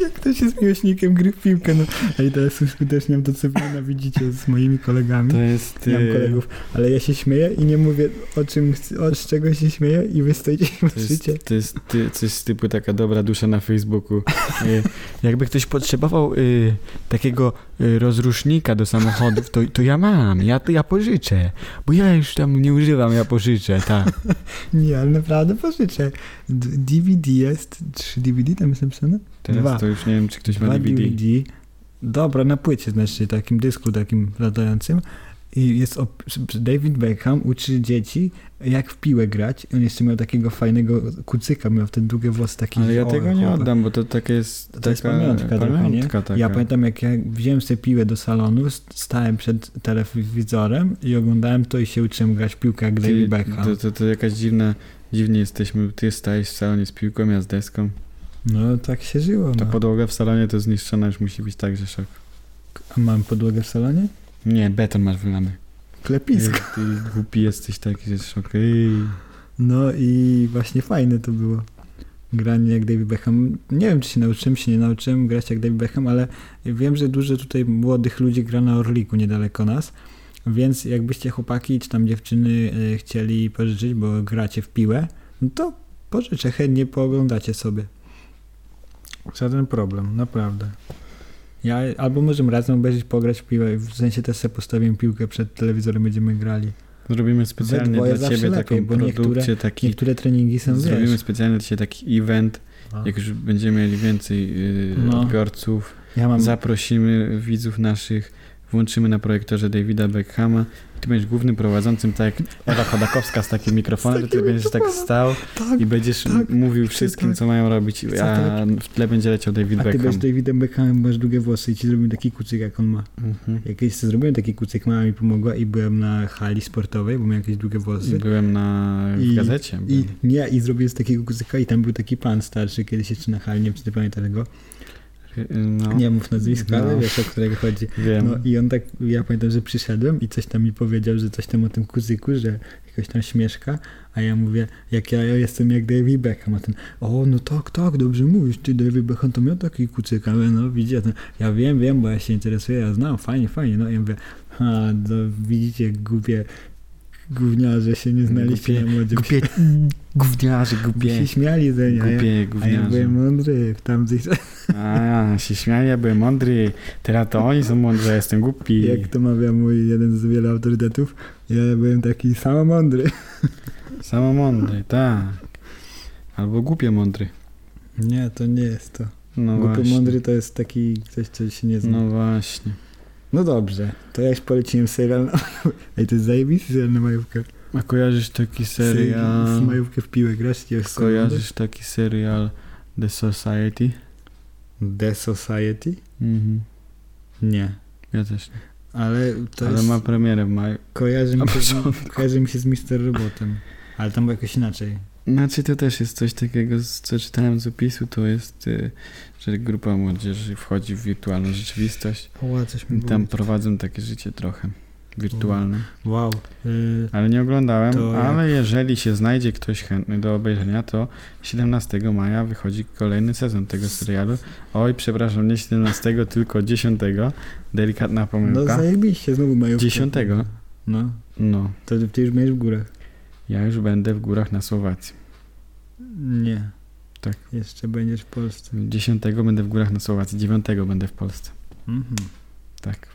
Speaker 2: jak to się z miłośnikiem gry w piłkę. No. A i teraz uskuteczniam to, co wy nienawidzicie z moimi kolegami.
Speaker 1: To jest...
Speaker 2: Nie mam
Speaker 1: y,
Speaker 2: kolegów, ale ja się śmieję i nie mówię o czym, chcę- o z czego się śmieję i wy stoicie i
Speaker 1: To jest,
Speaker 2: patrzycie.
Speaker 1: to jest ty, coś z typu taka dobra dusza na Facebooku. Y, Jakby ktoś potrzebował y, takiego y, rozrusznika do samochodów, to, to ja mam, ja, to ja pożyczę. Bo ja już tam nie używam, ja pożyczę, tak.
Speaker 2: Nie, ale naprawdę pożyczę. D- DVD jest, 3 DVD tam jest napisane?
Speaker 1: Teraz
Speaker 2: Dwa.
Speaker 1: to już nie wiem, czy ktoś ma
Speaker 2: Dwa
Speaker 1: DVD.
Speaker 2: Dobra, na płycie znaczy, takim dysku takim latającym. I jest op- David Beckham uczy dzieci, jak w piłę grać. On jeszcze miał takiego fajnego kucyka, miał te długie włosy takie.
Speaker 1: Ale ja
Speaker 2: o,
Speaker 1: tego nie
Speaker 2: chłopak.
Speaker 1: oddam, bo to takie jest...
Speaker 2: To jest pamiątka trochę,
Speaker 1: pamiątka taka.
Speaker 2: Ja pamiętam, jak ja wziąłem sobie piłę do salonu, st- stałem przed telewizorem i oglądałem to i się uczyłem grać w piłkę jak David Beckham.
Speaker 1: To, to, to jakaś dziwna, dziwnie jesteśmy. Ty stajesz w salonie z piłką, ja z deską.
Speaker 2: No tak się żyło.
Speaker 1: Ta
Speaker 2: No.
Speaker 1: podłoga w salonie to zniszczona już musi być tak, że szok.
Speaker 2: A mam podłogę w salonie?
Speaker 1: Nie, beton masz wylany.
Speaker 2: Klepisko.
Speaker 1: Ej, Ty głupi jesteś taki, że szok. Ej.
Speaker 2: No i właśnie fajne to było. Granie jak David Beckham. Nie wiem, czy się nauczyłem, czy się nie nauczyłem grać jak David Beckham, ale wiem, że dużo tutaj młodych ludzi gra na Orliku niedaleko nas. Więc jakbyście chłopaki czy tam dziewczyny e, chcieli pożyczyć, bo gracie w piłę, no to pożyczę, chętnie pooglądacie sobie.
Speaker 3: Żaden problem, naprawdę.
Speaker 2: Ja, albo możemy razem obejrzeć, pograć w piłę, w sensie też sobie postawimy piłkę przed telewizorem, będziemy grali.
Speaker 1: Zrobimy specjalnie
Speaker 2: dwoje
Speaker 1: dla
Speaker 2: zawsze
Speaker 1: ciebie
Speaker 2: lepiej,
Speaker 1: taką
Speaker 2: bo niektóre-
Speaker 1: produkcję, taki...
Speaker 2: Niektóre treningi są,
Speaker 1: Zrobimy
Speaker 2: wiesz,
Speaker 1: specjalnie dla ciebie taki event.
Speaker 2: A.
Speaker 1: Jak już będziemy mieli więcej yy,
Speaker 2: No.
Speaker 1: odbiorców,
Speaker 2: ja mam...
Speaker 1: Zaprosimy widzów naszych, włączymy na projektorze Davida Beckhama. Ty będziesz głównym prowadzącym, tak jak Ewa Chodakowska z takim mikrofonem,
Speaker 2: Z
Speaker 1: że
Speaker 2: takim
Speaker 1: ty będziesz tak
Speaker 2: mikrofonem.
Speaker 1: stał
Speaker 2: Tak,
Speaker 1: i będziesz
Speaker 2: tak,
Speaker 1: mówił
Speaker 2: chcę
Speaker 1: wszystkim,
Speaker 2: tak.
Speaker 1: co mają robić,
Speaker 2: Chcę
Speaker 1: a w tle będzie leciał David
Speaker 2: a ty
Speaker 1: Beckham.
Speaker 2: będziesz Davidem Beckhamem, masz długie włosy i ci zrobimy taki kucyk, jak on ma.
Speaker 1: Mhm.
Speaker 2: Jak kiedyś sobie zrobiłem taki kucyk, mama mi pomogła i byłem na hali sportowej, bo miałem jakieś długie
Speaker 1: I
Speaker 2: włosy.
Speaker 1: Byłem na w
Speaker 2: I-
Speaker 1: gazecie.
Speaker 2: I
Speaker 1: byłem.
Speaker 2: nie, i zrobiłem z takiego kucyka i tam był taki pan starszy, kiedyś jeszcze na hali, nie wiem, czy ty pamiętasz go.
Speaker 1: Y, No,
Speaker 2: Nie mów nazwiska, ale
Speaker 1: No.
Speaker 2: wiesz, o którego chodzi.
Speaker 1: wiem.
Speaker 2: No i on tak, ja pamiętam, że przyszedłem i coś tam mi powiedział, że coś tam o tym kuzyku, że jakoś tam śmieszka, a ja mówię, jak ja, ja jestem jak David Beckham, a ten, o no tak, tak, dobrze mówisz, ty David Beckham to miał taki kucyk, ale no widzicie, ten, ja wiem, wiem, bo ja się interesuję, ja znam, fajnie, fajnie, no i ja mówię, ha, no widzicie, głupie gówniarze się nie znaliście
Speaker 1: Głupie-
Speaker 2: na młodzie,
Speaker 1: Głupie, gówniarze,
Speaker 2: By
Speaker 1: głupie.
Speaker 2: się śmiali ze mnie, a ja,
Speaker 1: Głupie,
Speaker 2: a ja
Speaker 1: gówniarze.
Speaker 2: byłem mądry w tamtych
Speaker 1: A, się śmiali, ja byłem mądry. Teraz to oni są mądrzy, ja jestem głupi.
Speaker 2: jak to mawia mój jeden z wielu autorytetów, ja byłem taki samo mądry.
Speaker 1: Samo mądry, tak. Albo głupie mądry.
Speaker 2: Nie, to nie jest to.
Speaker 1: No
Speaker 2: Głupio
Speaker 1: właśnie.
Speaker 2: mądry to jest taki ktoś, co się nie zna. No,
Speaker 1: No właśnie.
Speaker 2: dobrze, to ja już poleciłem serial na Ej, to jest zajebisty serial na majówkę.
Speaker 1: A kojarzysz taki serial...
Speaker 2: Z majówkę w piłę grasz? Ja już sobie
Speaker 1: Kojarzysz taki serial The Society?
Speaker 2: oglądam. The Society?
Speaker 1: Mhm.
Speaker 2: Nie.
Speaker 1: Ja też nie.
Speaker 2: Ale to
Speaker 1: Ale
Speaker 2: jest...
Speaker 1: ma premierę w maju.
Speaker 2: Kojarzy, mi
Speaker 1: Na
Speaker 2: się z... kojarzy mi się z Mister Robotem. Ale tam było jakoś inaczej.
Speaker 1: Znaczy to też jest coś takiego, z- co czytałem z opisu, to jest, y, że grupa młodzieży wchodzi w wirtualną rzeczywistość
Speaker 2: O, coś mi
Speaker 1: i tam
Speaker 2: tam...
Speaker 1: prowadzą takie życie trochę wirtualne.
Speaker 2: Wow. Y,
Speaker 1: Ale nie oglądałem,
Speaker 2: To
Speaker 1: ale jeżeli się znajdzie ktoś chętny do obejrzenia, to 17 maja wychodzi kolejny sezon tego serialu. Oj, przepraszam, nie 17, tylko 10. Delikatna
Speaker 2: No
Speaker 1: pomyłka.
Speaker 2: zajebiście, znowu majówka.
Speaker 1: 10.
Speaker 2: No,
Speaker 1: No,
Speaker 2: to ty już będziesz w górach.
Speaker 1: ja już będę w górach na Słowacji.
Speaker 2: Nie.
Speaker 1: Tak.
Speaker 2: Jeszcze będziesz w Polsce.
Speaker 1: 10 będę w górach na Słowacji, 9 będę w Polsce.
Speaker 2: Mhm.
Speaker 1: Tak.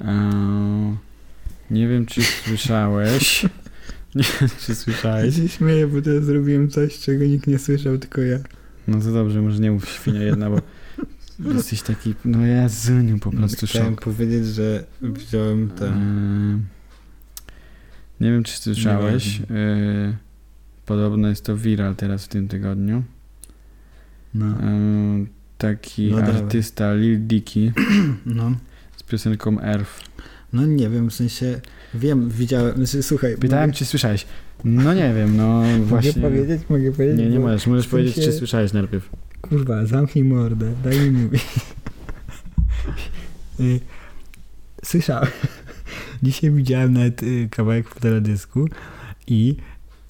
Speaker 1: Eee, nie wiem, czy słyszałeś. Nie wiem, czy
Speaker 2: Ja
Speaker 1: słyszałeś.
Speaker 2: się śmieję, bo teraz zrobiłem coś, czego nikt nie słyszał, tylko ja.
Speaker 1: No to dobrze, może nie mów świnia jedna, bo jesteś taki, no jezuniu po prostu
Speaker 2: Chciałem
Speaker 1: szok.
Speaker 2: powiedzieć, że wziąłem ten.
Speaker 1: Ehm, Nie wiem, czy słyszałeś. e, Podobno jest to viral teraz w tym tygodniu.
Speaker 2: No.
Speaker 1: Ehm, Taki
Speaker 2: No dawaj.
Speaker 1: artysta Lil Dicky
Speaker 2: no.
Speaker 1: z piosenką Earth.
Speaker 2: No nie wiem, w sensie wiem, widziałem. Znaczy, słuchaj,
Speaker 1: Pytałem,
Speaker 2: mogę,
Speaker 1: czy słyszałeś. No nie wiem, no właśnie.
Speaker 2: Mogę powiedzieć, mogę powiedzieć.
Speaker 1: Nie, nie
Speaker 2: bo-
Speaker 1: możesz. Możesz
Speaker 2: w
Speaker 1: powiedzieć, czy
Speaker 2: sensie-
Speaker 1: słyszałeś najpierw.
Speaker 2: Kurwa, zamknij mordę, daj mi mówić. Y, Słyszałem. Dzisiaj widziałem nawet y, kawałek w teledysku i.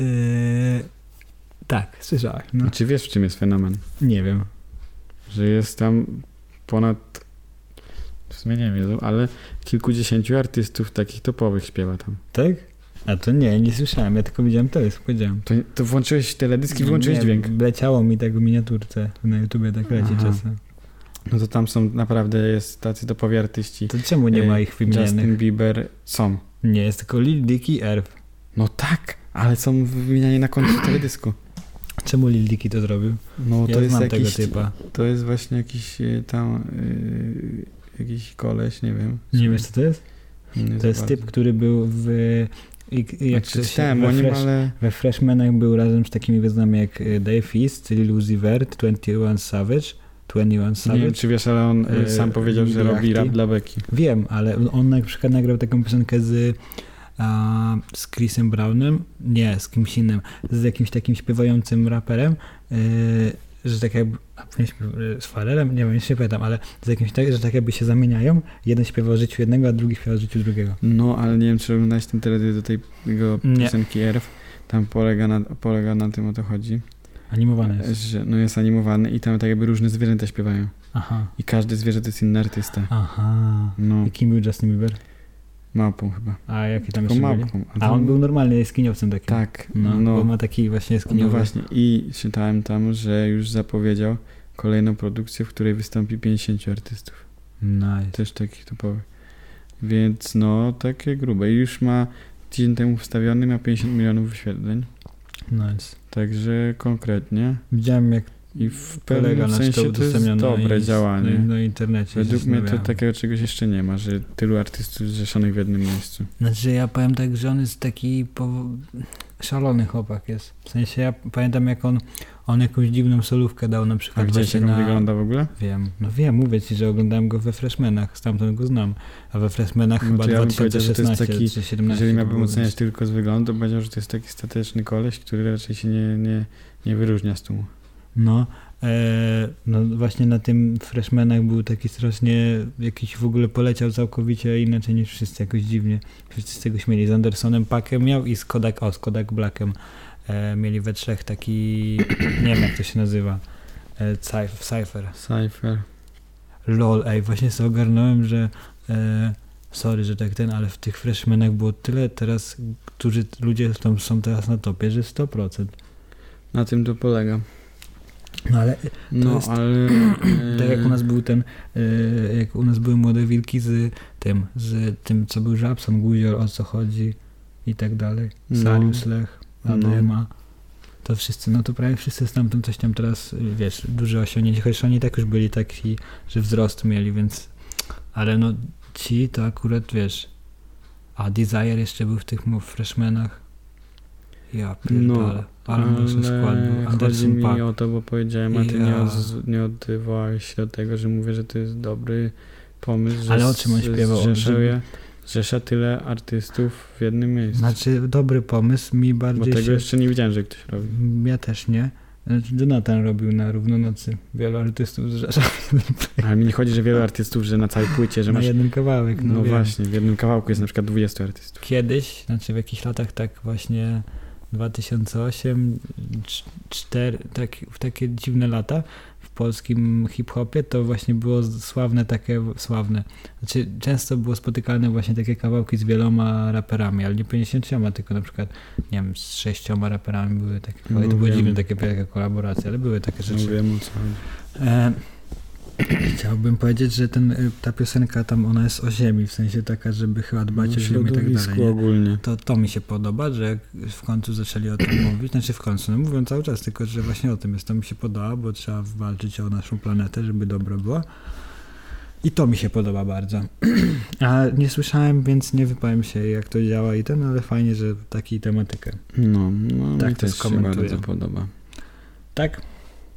Speaker 2: y, tak, słyszałem. No.
Speaker 1: No. Czy wiesz, w czym jest fenomen?
Speaker 2: Nie wiem.
Speaker 1: że jest tam ponad, w sumie nie wiem, ilu, ale kilkudziesięciu artystów takich topowych śpiewa tam.
Speaker 2: Tak? A to nie, nie słyszałem, ja tylko widziałem teledysk, powiedziałem.
Speaker 1: To, to włączyłeś teledysk i włączyłeś
Speaker 2: Nie,
Speaker 1: dźwięk.
Speaker 2: Leciało mi tak w miniaturce na YouTubie, tak leci
Speaker 1: Aha.
Speaker 2: czasem.
Speaker 1: No to tam są naprawdę jest tacy topowi artyści.
Speaker 2: To czemu nie ma
Speaker 1: Ej,
Speaker 2: ich wymienionych?
Speaker 1: Justin Bieber są.
Speaker 2: Nie, jest tylko Lil Dicky Erb.
Speaker 1: No tak, ale są wymieniani na końcu teledysku.
Speaker 2: Czemu Lil Dicky to zrobił?
Speaker 1: No
Speaker 2: ja
Speaker 1: to jest
Speaker 2: znam
Speaker 1: jakiś,
Speaker 2: tego typa.
Speaker 1: to jest właśnie jakiś e, tam e, jakiś koleś, nie wiem.
Speaker 2: Nie wiesz co to jest?
Speaker 1: Nie
Speaker 2: To
Speaker 1: za
Speaker 2: jest
Speaker 1: bardzo.
Speaker 2: typ, który był w... i- i- Jak
Speaker 1: Znaczy,
Speaker 2: to się-
Speaker 1: czytałem
Speaker 2: we
Speaker 1: o nim,
Speaker 2: Fresh-
Speaker 1: ale
Speaker 2: We Freshmanach był razem z takimi wyznami jak y, Dave East, Lil Uzi Vert, 21 Savage, 21
Speaker 1: nie wiem,
Speaker 2: Savage.
Speaker 1: czy wiesz, ale on e,
Speaker 2: e,
Speaker 1: sam powiedział, że
Speaker 2: Lil
Speaker 1: robi
Speaker 2: Yachty.
Speaker 1: rap dla Beki.
Speaker 2: Wiem, ale on na przykład nagrał taką piosenkę z, a, z Chrisem Brownem, nie, z kimś innym, z jakimś takim śpiewającym raperem, y, że tak jakby, a, nie śpiew- y, z Farelem, nie wiem, jeszcze nie pamiętam, ale z jakimś tak, że tak jakby się zamieniają, jeden śpiewa o życiu jednego, a drugi śpiewa o życiu drugiego.
Speaker 1: No, ale nie wiem, czy oglądałeś ten teledysk do tej jego
Speaker 2: Nie.
Speaker 1: piosenki RF. Tam polega na, polega na tym, o to chodzi.
Speaker 2: Animowany jest.
Speaker 1: Że, no jest animowany i tam tak jakby różne zwierzęta śpiewają.
Speaker 2: Aha,
Speaker 1: I każdy zwierzę to jest inny artysta.
Speaker 2: aha.
Speaker 1: No,
Speaker 2: I kim był Justin Bieber?
Speaker 1: małpą chyba.
Speaker 2: A jakie tam
Speaker 1: Tylko
Speaker 2: jeszcze byli?
Speaker 1: małpą.
Speaker 2: A
Speaker 1: tam-
Speaker 2: on był normalny jaskiniowcem takim.
Speaker 1: Tak,
Speaker 2: No,
Speaker 1: no,
Speaker 2: bo
Speaker 1: no,
Speaker 2: ma taki właśnie
Speaker 1: no
Speaker 2: jaskiniowy.
Speaker 1: właśnie. I czytałem tam, że już zapowiedział kolejną produkcję, w której wystąpi 50 artystów.
Speaker 2: Nice.
Speaker 1: Też takich topowych. Więc no, takie grube. I już ma tydzień temu wstawiony, ma 50 milionów wyświetleń.
Speaker 2: nice.
Speaker 1: Także konkretnie.
Speaker 2: Widziałem jak
Speaker 1: I w
Speaker 2: kolega
Speaker 1: pewnym
Speaker 2: nasz to
Speaker 1: sensie to jest
Speaker 2: udostępniał
Speaker 1: dobre
Speaker 2: na, No
Speaker 1: działanie.
Speaker 2: Na, na internecie. się
Speaker 1: Według mnie to tak-
Speaker 2: zastanawiałem.
Speaker 1: takiego czegoś jeszcze nie ma, że tylu artystów zrzeszonych w jednym miejscu.
Speaker 2: Znaczy ja powiem tak, że on jest taki powo- szalony chłopak jest. W sensie ja pamiętam jak on, on jakąś dziwną solówkę dał na
Speaker 1: A
Speaker 2: przykład
Speaker 1: gdzieś
Speaker 2: Tak właśnie
Speaker 1: jak on
Speaker 2: na...
Speaker 1: wygląda w ogóle?
Speaker 2: Wiem, no wiem, mówię ci, że oglądałem go we Freshmanach, stamtąd go znam. A we Freshmanach
Speaker 1: No
Speaker 2: chyba
Speaker 1: to ja bym powiedział, że to jest
Speaker 2: 2016
Speaker 1: taki-
Speaker 2: czy 17.
Speaker 1: Jeżeli miałbym
Speaker 2: było.
Speaker 1: oceniać tylko z wyglądu, to powiedział, że to jest taki stateczny koleś, który raczej się nie, nie, nie wyróżnia z tłumu.
Speaker 2: No, e, no właśnie na tym freshmanach był taki strasznie, jakiś w ogóle poleciał całkowicie inaczej niż wszyscy, jakoś dziwnie. Wszyscy z tego śmieli. Z Andersonem Pakiem miał i z Kodak, o, z Kodak Blackiem e, mieli we trzech taki, nie wiem jak to się nazywa, e, cyf- cypher.
Speaker 1: Cypher.
Speaker 2: Lol, ej, właśnie sobie ogarnąłem, że e, sorry, że tak ten, ale w tych freshmanach było tyle teraz, którzy ludzie tam są teraz na topie, że 100%.
Speaker 1: Na tym to polega.
Speaker 2: No ale
Speaker 1: No,
Speaker 2: jest-
Speaker 1: ale...
Speaker 2: Tak jak
Speaker 1: e,
Speaker 2: u nas był ten, e, jak u nas były młode wilki z tym, z tym co był Żabson, Guzior, o co chodzi i tak dalej.
Speaker 1: No.
Speaker 2: Sarius Lech, Adema.
Speaker 1: No.
Speaker 2: To wszyscy, no to prawie wszyscy stamtąd coś tam teraz, y, wiesz, duże osiągnięcie, chociaż oni tak już byli taki, że wzrost mieli, więc, ale no ci to akurat, wiesz, a Desire jeszcze był w tych mu- freshmanach. Ja pierdolę,
Speaker 1: No,
Speaker 2: ale mocny skład był.
Speaker 1: chodzi
Speaker 2: Anderson
Speaker 1: mi
Speaker 2: Paak.
Speaker 1: o to, bo powiedziałem, a ty nie,
Speaker 2: Ja.
Speaker 1: od, nie odwołałeś się do tego, że mówię, że to jest dobry pomysł, że
Speaker 2: Ale o czym on
Speaker 1: z-
Speaker 2: śpiewał?
Speaker 1: Zrzeszuje, zrzesza tyle artystów w jednym miejscu.
Speaker 2: Znaczy, dobry pomysł, mi
Speaker 1: bo
Speaker 2: bardziej
Speaker 1: tego
Speaker 2: się...
Speaker 1: jeszcze nie widziałem, że ktoś robi.
Speaker 2: Ja też nie. Znaczy, Jonathan robił na równonocy. Wielu artystów zrzesza
Speaker 1: Ale mi nie chodzi, że wielu artystów, że na całej płycie, że
Speaker 2: na
Speaker 1: masz...
Speaker 2: jeden kawałek.
Speaker 1: No,
Speaker 2: wiem.
Speaker 1: właśnie, w jednym kawałku jest na przykład 20 artystów.
Speaker 2: Kiedyś, znaczy w jakichś latach tak właśnie 2008, cz- czter, tak, w takie dziwne lata w polskim hip-hopie to właśnie było z- sławne takie, sławne. Znaczy często było spotykane właśnie takie kawałki z wieloma raperami, ale nie 50, tylko na przykład, nie wiem, z sześcioma raperami były takie kawałki. To
Speaker 1: No
Speaker 2: były
Speaker 1: wiem.
Speaker 2: dziwne takie wielkie kolaboracje, ale były takie rzeczy.
Speaker 1: No wiem o co chodzi.
Speaker 2: E, chciałbym powiedzieć, że ten, y, ta piosenka tam, ona jest o ziemi, w sensie taka, żeby chyba dbać o
Speaker 1: No,
Speaker 2: ziemię i tak dalej.
Speaker 1: środowisku
Speaker 2: nie?
Speaker 1: ogólnie.
Speaker 2: To, to mi się podoba, że jak w końcu zaczęli o tym mówić, znaczy w końcu, no mówią cały czas, tylko że właśnie o tym jest, to mi się podoba, bo trzeba walczyć o naszą planetę, żeby dobro było. I to mi się podoba bardzo. A nie słyszałem, więc nie wypowiem się jak to działa i ten, ale fajnie, że takiej tematykę.
Speaker 1: No, no
Speaker 2: Tak
Speaker 1: mi
Speaker 2: to
Speaker 1: też się
Speaker 2: skomentuję.
Speaker 1: bardzo podoba.
Speaker 2: Tak?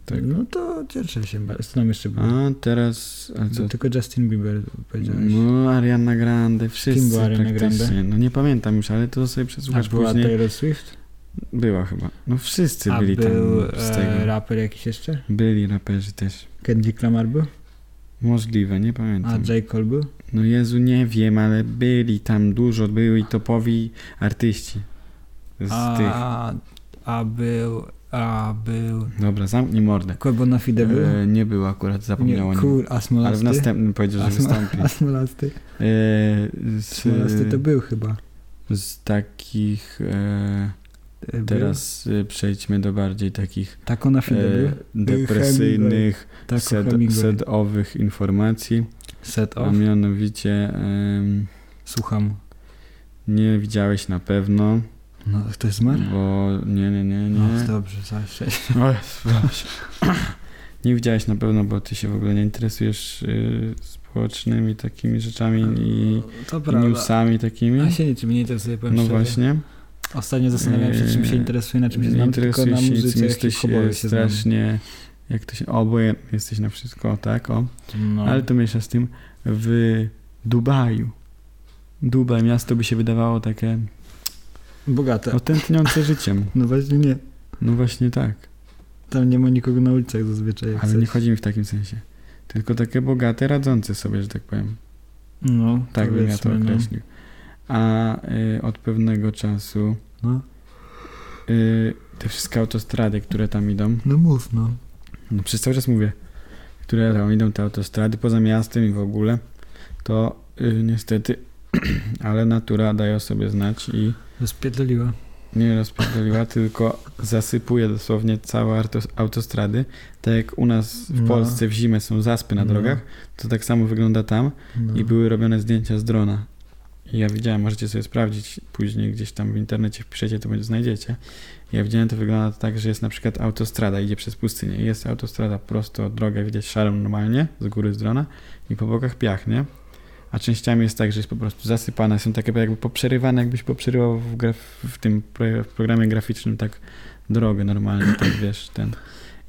Speaker 1: Tak.
Speaker 2: No to cieszę się bardzo. Co nam jeszcze było? No
Speaker 1: A teraz... Ale co,
Speaker 2: Tylko Justin Bieber powiedziałeś.
Speaker 1: No, Ariana Grande, wszyscy
Speaker 2: Kim była Ariana
Speaker 1: praktycznie.
Speaker 2: Grande?
Speaker 1: No nie pamiętam już, ale to sobie przesłuchasz
Speaker 2: A była
Speaker 1: później.
Speaker 2: Taylor Swift?
Speaker 1: Była chyba. No wszyscy
Speaker 2: A
Speaker 1: byli
Speaker 2: był
Speaker 1: tam z tego.
Speaker 2: e, raper jakiś jeszcze?
Speaker 1: Byli raperzy też.
Speaker 2: Kendrick Lamar był?
Speaker 1: Możliwe, nie
Speaker 2: A
Speaker 1: pamiętam.
Speaker 2: J. Cole był?
Speaker 1: No Jezu, nie wiem, ale byli tam dużo, byli topowi artyści. Z
Speaker 2: a,
Speaker 1: tych.
Speaker 2: a, a był... A, A był.
Speaker 1: Dobra, zamknij mordę.
Speaker 2: Kogo na Fide był?
Speaker 1: E, nie było akurat,
Speaker 2: nie,
Speaker 1: zapomniałem o nim.
Speaker 2: kur, a smolasty.
Speaker 1: Ale w następnym powiedział, że
Speaker 2: A sma-
Speaker 1: wystąpi.
Speaker 2: A smolasty.
Speaker 1: E, z,
Speaker 2: Smolasty to był chyba.
Speaker 1: z takich... E,
Speaker 2: E, był?
Speaker 1: teraz e, przejdźmy do bardziej takich
Speaker 2: Tako na
Speaker 1: e,
Speaker 2: Fide był?
Speaker 1: depresyjnych,
Speaker 2: Tako
Speaker 1: sed,
Speaker 2: Hemingway.
Speaker 1: sedowych informacji.
Speaker 2: Set
Speaker 1: A
Speaker 2: off.
Speaker 1: mianowicie em,
Speaker 2: Słucham.
Speaker 1: nie widziałeś na pewno,
Speaker 2: No, ktoś zmarł?
Speaker 1: bo nie, nie, nie, nie.
Speaker 2: No, dobrze, zawsze.
Speaker 1: O, przepraszam. Nie widziałeś na pewno, bo ty się w ogóle nie interesujesz y, społecznymi takimi rzeczami i,
Speaker 2: To
Speaker 1: i newsami takimi.
Speaker 2: Ja się niczym nie interesuję, powiem
Speaker 1: No
Speaker 2: szczerze.
Speaker 1: właśnie.
Speaker 2: Ostatnio zastanawiałem się, czym się
Speaker 1: Eee,
Speaker 2: interesuję, na czym się
Speaker 1: nie
Speaker 2: znam, tylko
Speaker 1: interesujesz
Speaker 2: na
Speaker 1: się
Speaker 2: muzyce,
Speaker 1: nic,
Speaker 2: jak
Speaker 1: jesteś
Speaker 2: hip-hopowej
Speaker 1: y,
Speaker 2: się
Speaker 1: strasznie, jak to się, obojętny jesteś na wszystko, tak, o.
Speaker 3: No.
Speaker 1: Ale to mniejsza z tym, w Dubaju. Dubaj, miasto by się wydawało takie
Speaker 2: znam. Bogate.
Speaker 1: otętniące życiem.
Speaker 2: No właśnie nie.
Speaker 1: No właśnie tak.
Speaker 2: Tam nie ma nikogo na ulicach zazwyczaj. jak
Speaker 1: Ale
Speaker 2: coś.
Speaker 1: nie chodzi mi w takim sensie. Tylko takie bogate, radzące sobie, że tak powiem.
Speaker 2: No,
Speaker 1: Tak bym ja to
Speaker 2: powiedzmy, no.
Speaker 1: określił. A y, od pewnego czasu
Speaker 2: No.
Speaker 1: y, te wszystkie autostrady, które tam idą,
Speaker 2: No mów, no.
Speaker 1: no przez cały czas mówię, które tam idą, te autostrady poza miastem i w ogóle, to y, niestety, ale natura daje o sobie znać i
Speaker 2: Rozpierdoliła.
Speaker 1: nie rozpierdoliła, tylko zasypuje dosłownie całe arto- autostrady. Tak jak u nas w
Speaker 2: No.
Speaker 1: Polsce w zimę są zaspy na
Speaker 2: No.
Speaker 1: drogach, to tak samo wygląda tam.
Speaker 2: No.
Speaker 1: i były robione zdjęcia z drona. I ja widziałem, możecie sobie sprawdzić później gdzieś tam w internecie wpiszecie, to będzie znajdziecie. Ja widziałem, to wygląda tak, że jest na przykład autostrada, idzie przez pustynię. Jest autostrada prosto, drogę widać szarą normalnie, z góry z drona i po bokach piach, nie? A częściami jest tak, że jest po prostu zasypana, są takie jakby poprzerywane, jakbyś poprzerywał w, graf- w tym pro- w programie graficznym tak drogę normalnie, tak wiesz, ten.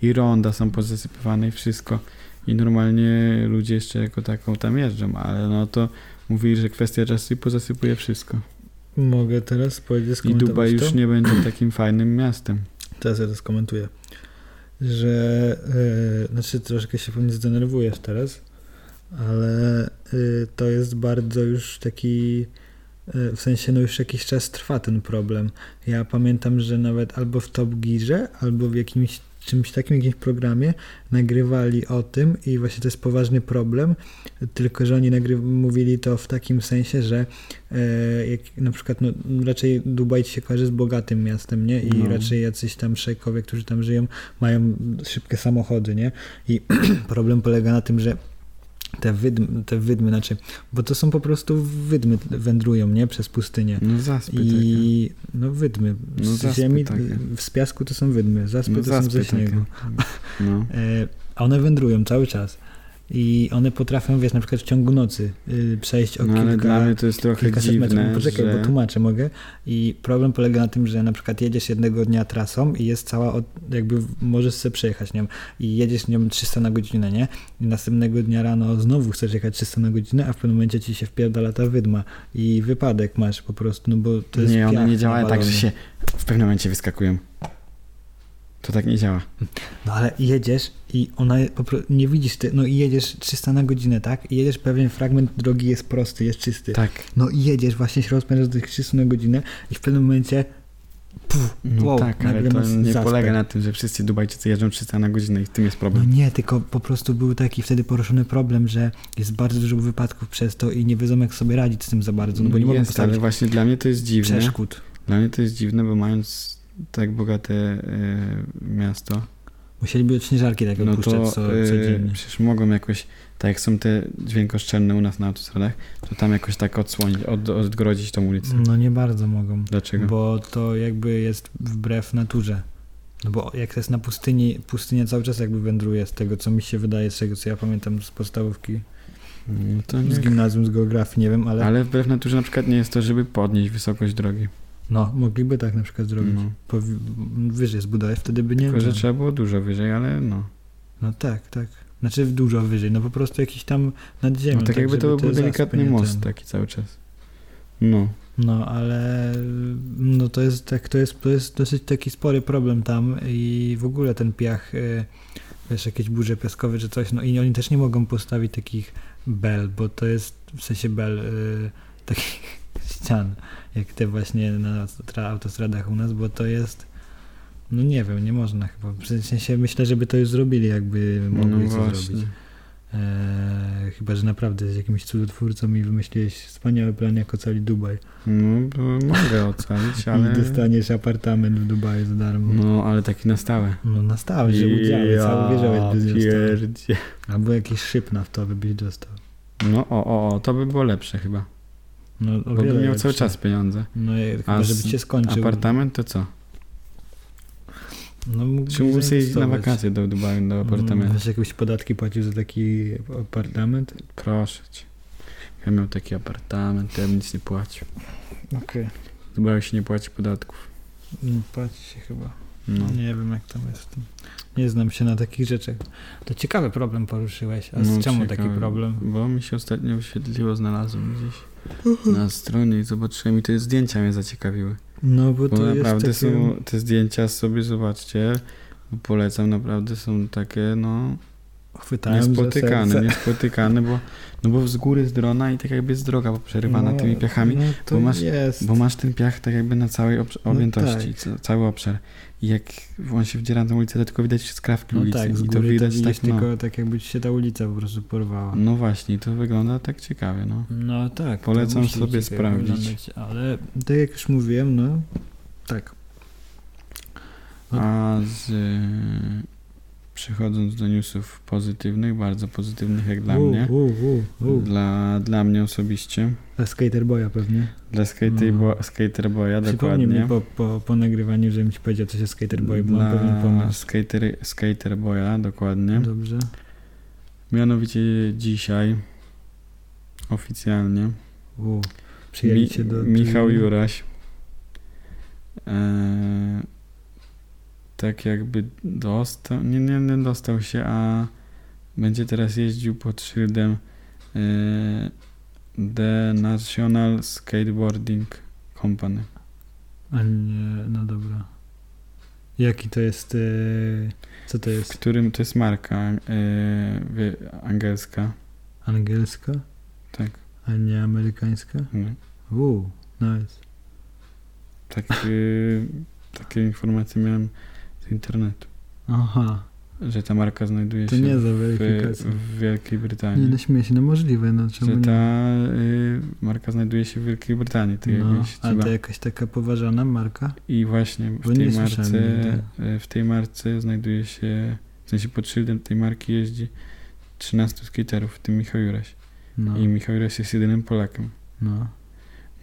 Speaker 1: I ronda są pozasypywane i wszystko. I normalnie ludzie jeszcze jako taką tam jeżdżą, ale no to mówili, że kwestia czasu i pozasypuje wszystko.
Speaker 2: Mogę teraz powiedzieć,
Speaker 1: I
Speaker 2: skomentować
Speaker 1: Dubaj
Speaker 2: to?
Speaker 1: już nie będzie takim fajnym miastem.
Speaker 2: Teraz ja to skomentuję. Że, e, znaczy troszkę się pewnie zdenerwujesz teraz, ale e, to jest bardzo już taki, e, w sensie no już jakiś czas trwa ten problem. Ja pamiętam, że nawet albo w Top Gearze, albo w jakimś czymś takim, jakimś programie nagrywali o tym i właśnie to jest poważny problem, tylko że oni nagry- mówili to w takim sensie, że E, jak na przykład, no, raczej Dubaj ci się kojarzy z bogatym miastem, nie? I
Speaker 1: No.
Speaker 2: raczej jacyś tam szejkowie, którzy tam żyją, mają szybkie samochody, nie? I problem polega na tym, że te wydmy, te wydmy, znaczy, bo to są po prostu wydmy wędrują, nie? Przez pustynię.
Speaker 1: No zaspy takie.
Speaker 2: I no wydmy.
Speaker 1: No
Speaker 2: Z
Speaker 1: zaspy
Speaker 2: ziemi,
Speaker 1: takie.
Speaker 2: z piasku to są wydmy, zaspy
Speaker 1: No
Speaker 2: to są ze
Speaker 1: zaspy
Speaker 2: śniegu.
Speaker 1: takie. No.
Speaker 2: E, A one wędrują cały czas. I one potrafią, wiesz, na przykład w ciągu nocy y, przejść o
Speaker 1: no ale
Speaker 2: kilka...
Speaker 1: dla mnie to jest trochę
Speaker 2: Kilkaset metrów.
Speaker 1: dziwne,
Speaker 2: No Poczekaj,
Speaker 1: że...
Speaker 2: bo tłumaczę, mogę. I problem polega na tym, że na przykład jedziesz jednego dnia trasą i jest cała, od, jakby w- możesz sobie przejechać nią i jedziesz nią 300 na godzinę, nie? I następnego dnia rano znowu chcesz jechać 300 na godzinę, a w pewnym momencie ci się wpierdala ta wydma i wypadek masz po prostu, no bo to jest
Speaker 1: Nie, one
Speaker 2: piach
Speaker 1: nie działają tak, że
Speaker 2: nawalony.
Speaker 1: się w pewnym momencie wyskakują. To tak nie działa.
Speaker 2: No ale jedziesz i ona po pro- nie widzisz ty, no i jedziesz 300 na godzinę, tak? I jedziesz pewien fragment drogi jest prosty, jest czysty.
Speaker 1: Tak.
Speaker 2: No i jedziesz, właśnie się rozpędzasz do tych 300 na godzinę i w pewnym momencie puf,
Speaker 1: No
Speaker 2: wow,
Speaker 1: tak, ale
Speaker 2: nagle
Speaker 1: to
Speaker 2: masz
Speaker 1: nie
Speaker 2: zaspę.
Speaker 1: polega na tym, że wszyscy Dubajczycy jeżdżą 300 na godzinę i w tym jest
Speaker 2: No
Speaker 1: problem.
Speaker 2: nie, tylko po prostu był taki wtedy poruszony problem, że jest bardzo dużo wypadków przez to i nie wiedzą jak sobie radzić z tym za bardzo, no bo nie mogą
Speaker 1: jest, ale
Speaker 2: postawić
Speaker 1: właśnie dla mnie to jest dziwne.
Speaker 2: przeszkód.
Speaker 1: Dla mnie to jest dziwne, bo mając tak bogate e, miasto,
Speaker 2: Musieliby odśnieżarki takie
Speaker 1: no
Speaker 2: opuszczać
Speaker 1: to
Speaker 2: co,
Speaker 1: e,
Speaker 2: codziennie.
Speaker 1: przecież mogą jakoś, tak jak są te dźwiękoszczelne u nas na autostradach, to tam jakoś tak odsłonić, od, odgrodzić tą ulicę.
Speaker 2: No nie bardzo mogą,
Speaker 1: Dlaczego?
Speaker 2: bo to jakby jest wbrew naturze. No bo jak to jest na pustyni, pustynia cały czas jakby wędruje z tego, co mi się wydaje, z tego, co ja pamiętam z podstawówki,
Speaker 1: No to
Speaker 2: z
Speaker 1: nie.
Speaker 2: gimnazjum, z geografii, nie wiem, ale...
Speaker 1: Ale wbrew naturze na przykład nie jest to, żeby podnieść wysokość drogi.
Speaker 2: No, mogliby tak na przykład zrobić.
Speaker 1: No.
Speaker 2: Powi- wyżej zbudować, wtedy by nie
Speaker 1: Tylko, że
Speaker 2: było.
Speaker 1: trzeba było dużo wyżej, ale no.
Speaker 2: No tak, tak. Znaczy dużo wyżej, no po prostu jakiś tam nad ziemią.
Speaker 1: no tak jakby to
Speaker 2: żeby
Speaker 1: był
Speaker 2: te
Speaker 1: delikatny
Speaker 2: zaspy nie
Speaker 1: most
Speaker 2: ten.
Speaker 1: taki cały czas. No.
Speaker 2: No ale no to jest tak, to jest, to jest dosyć taki spory problem tam i w ogóle ten piach, y, wiesz, jakieś burze piaskowe czy coś, no i oni też nie mogą postawić takich bel, bo to jest w sensie bel y, takich ścian, jak te właśnie na tra- autostradach u nas, bo to jest No nie wiem, nie można chyba. W sensie myślę, żeby to już zrobili, jakby mogli
Speaker 1: no
Speaker 2: to zrobić. Eee, chyba, że naprawdę z jakimś cudotwórcą i wymyśliłeś wspaniały plan jak ocali Dubaj.
Speaker 1: No, bo mogę ocalić,
Speaker 2: Ale...
Speaker 1: ale...
Speaker 2: I dostaniesz apartament w Dubaju za darmo. No,
Speaker 1: No, ale taki na stałe.
Speaker 2: na stałe, że udziały, cały wierzałeś by dostał.
Speaker 1: pierdzie.
Speaker 2: Albo jakiś szyb naftowy byś dostał.
Speaker 1: No, o, o, o, to by było lepsze chyba.
Speaker 2: No, o
Speaker 1: Bo bym
Speaker 2: wiele
Speaker 1: miał
Speaker 2: lepsze.
Speaker 1: cały czas pieniądze.
Speaker 2: No i
Speaker 1: A
Speaker 2: chyba, żeby
Speaker 1: z-
Speaker 2: cię skończył.
Speaker 1: Apartament to co?
Speaker 2: No mógłbyś
Speaker 1: Czy muszę iść na
Speaker 2: zainwestować.
Speaker 1: wakacje do Dubaju, do
Speaker 2: Mm,
Speaker 1: apartamentu?
Speaker 2: Wiesz, jakbyś podatki płacił za taki apartament?
Speaker 1: Proszę cię. Ja miał taki apartament, to ja bym nic nie płacił.
Speaker 2: Okej.
Speaker 1: W Dubaju się nie płaci podatków.
Speaker 2: No, płaci się chyba.
Speaker 1: No.
Speaker 2: Nie wiem, jak tam jest. Nie znam się na takich rzeczach. To ciekawy problem poruszyłeś. A z
Speaker 1: No,
Speaker 2: czemu taki
Speaker 1: ciekawe,
Speaker 2: problem?
Speaker 1: Bo mi się ostatnio wyświetliło, znalazłem gdzieś na stronie i zobaczyłem i te zdjęcia mnie zaciekawiły.
Speaker 2: No, bo
Speaker 1: Bo
Speaker 2: to jest
Speaker 1: naprawdę
Speaker 2: takie...
Speaker 1: są te zdjęcia sobie zobaczcie. bo Polecam, naprawdę są takie, no,
Speaker 2: Chwytałem za
Speaker 1: niespotykane,
Speaker 2: serce.
Speaker 1: niespotykane, bo, no bo z góry z drona i tak jakby jest droga poprzerywana
Speaker 2: No,
Speaker 1: tymi piachami,
Speaker 2: No, to
Speaker 1: bo masz-
Speaker 2: jest.
Speaker 1: bo masz ten piach tak jakby na całej obsz-
Speaker 2: No
Speaker 1: objętości, ca- cały obszar. I jak on się wdziera na ulicę, to tylko widać skrawki
Speaker 2: no
Speaker 1: ulicy
Speaker 2: tak, z
Speaker 1: i
Speaker 2: góry
Speaker 1: to widać tak, no,
Speaker 2: tylko tak jakby ci się ta ulica po prostu porwała.
Speaker 1: no właśnie, to wygląda tak ciekawie, no.
Speaker 2: No tak. to
Speaker 1: Polecam
Speaker 2: musi
Speaker 1: sobie
Speaker 2: ciekawie
Speaker 1: sprawdzić.
Speaker 2: wyglądać, Ale tak jak już mówiłem, no tak. No.
Speaker 1: A z, y, przechodząc do newsów pozytywnych, bardzo pozytywnych jak dla
Speaker 2: u,
Speaker 1: mnie,
Speaker 2: U, u, u.
Speaker 1: Dla, dla mnie osobiście,
Speaker 2: Dla skater boya pewnie.
Speaker 1: dla skater,
Speaker 2: No.
Speaker 1: bo, skater boya
Speaker 2: Przypomnij
Speaker 1: dokładnie.
Speaker 2: mi po, po, po nagrywaniu, żebym ci powiedział, co się skater boy, bo mam pewien
Speaker 1: Dla
Speaker 2: pomysł.
Speaker 1: skater, skater boya dokładnie.
Speaker 2: Dobrze.
Speaker 1: Mianowicie dzisiaj oficjalnie
Speaker 2: U. Przyjęli
Speaker 1: Mi-
Speaker 2: cię do...
Speaker 1: Michał
Speaker 2: do-
Speaker 1: Juraś e, tak jakby dostał, nie, nie, nie dostał się, a będzie teraz jeździł pod szyldem e, The National Skateboarding Company.
Speaker 2: A nie, no dobra. Jaki to jest... e, Co to
Speaker 1: W
Speaker 2: jest?
Speaker 1: którym to jest marka e, wie- angielska.
Speaker 2: Angielska?
Speaker 1: Tak.
Speaker 2: A nie amerykańska?
Speaker 1: Nie.
Speaker 2: U. Nice.
Speaker 1: Tak, e, takie informacje miałem z internetu,
Speaker 2: Aha.
Speaker 1: że ta marka znajduje
Speaker 2: To
Speaker 1: się
Speaker 2: nie za
Speaker 1: w,
Speaker 2: weryfikację.
Speaker 1: w Wielkiej Brytanii.
Speaker 2: Nie, no śmieję się, no możliwe, no czemu
Speaker 1: że tak,
Speaker 2: nie?
Speaker 1: ta y, marka znajduje się w Wielkiej Brytanii. Tak
Speaker 2: No,
Speaker 1: jakbyś
Speaker 2: a
Speaker 1: chyba.
Speaker 2: to jakaś taka poważana marka?
Speaker 1: I właśnie
Speaker 2: Bo
Speaker 1: w
Speaker 2: nie
Speaker 1: tej,
Speaker 2: słyszałem
Speaker 1: marce,
Speaker 2: nigdy.
Speaker 1: y, w tej marce znajduje się, w sensie pod szyldem tej marki jeździ 13 skaterów, w tym Michał Juraś.
Speaker 2: No,
Speaker 1: I Michał Juraś jest jedynym Polakiem.
Speaker 2: no.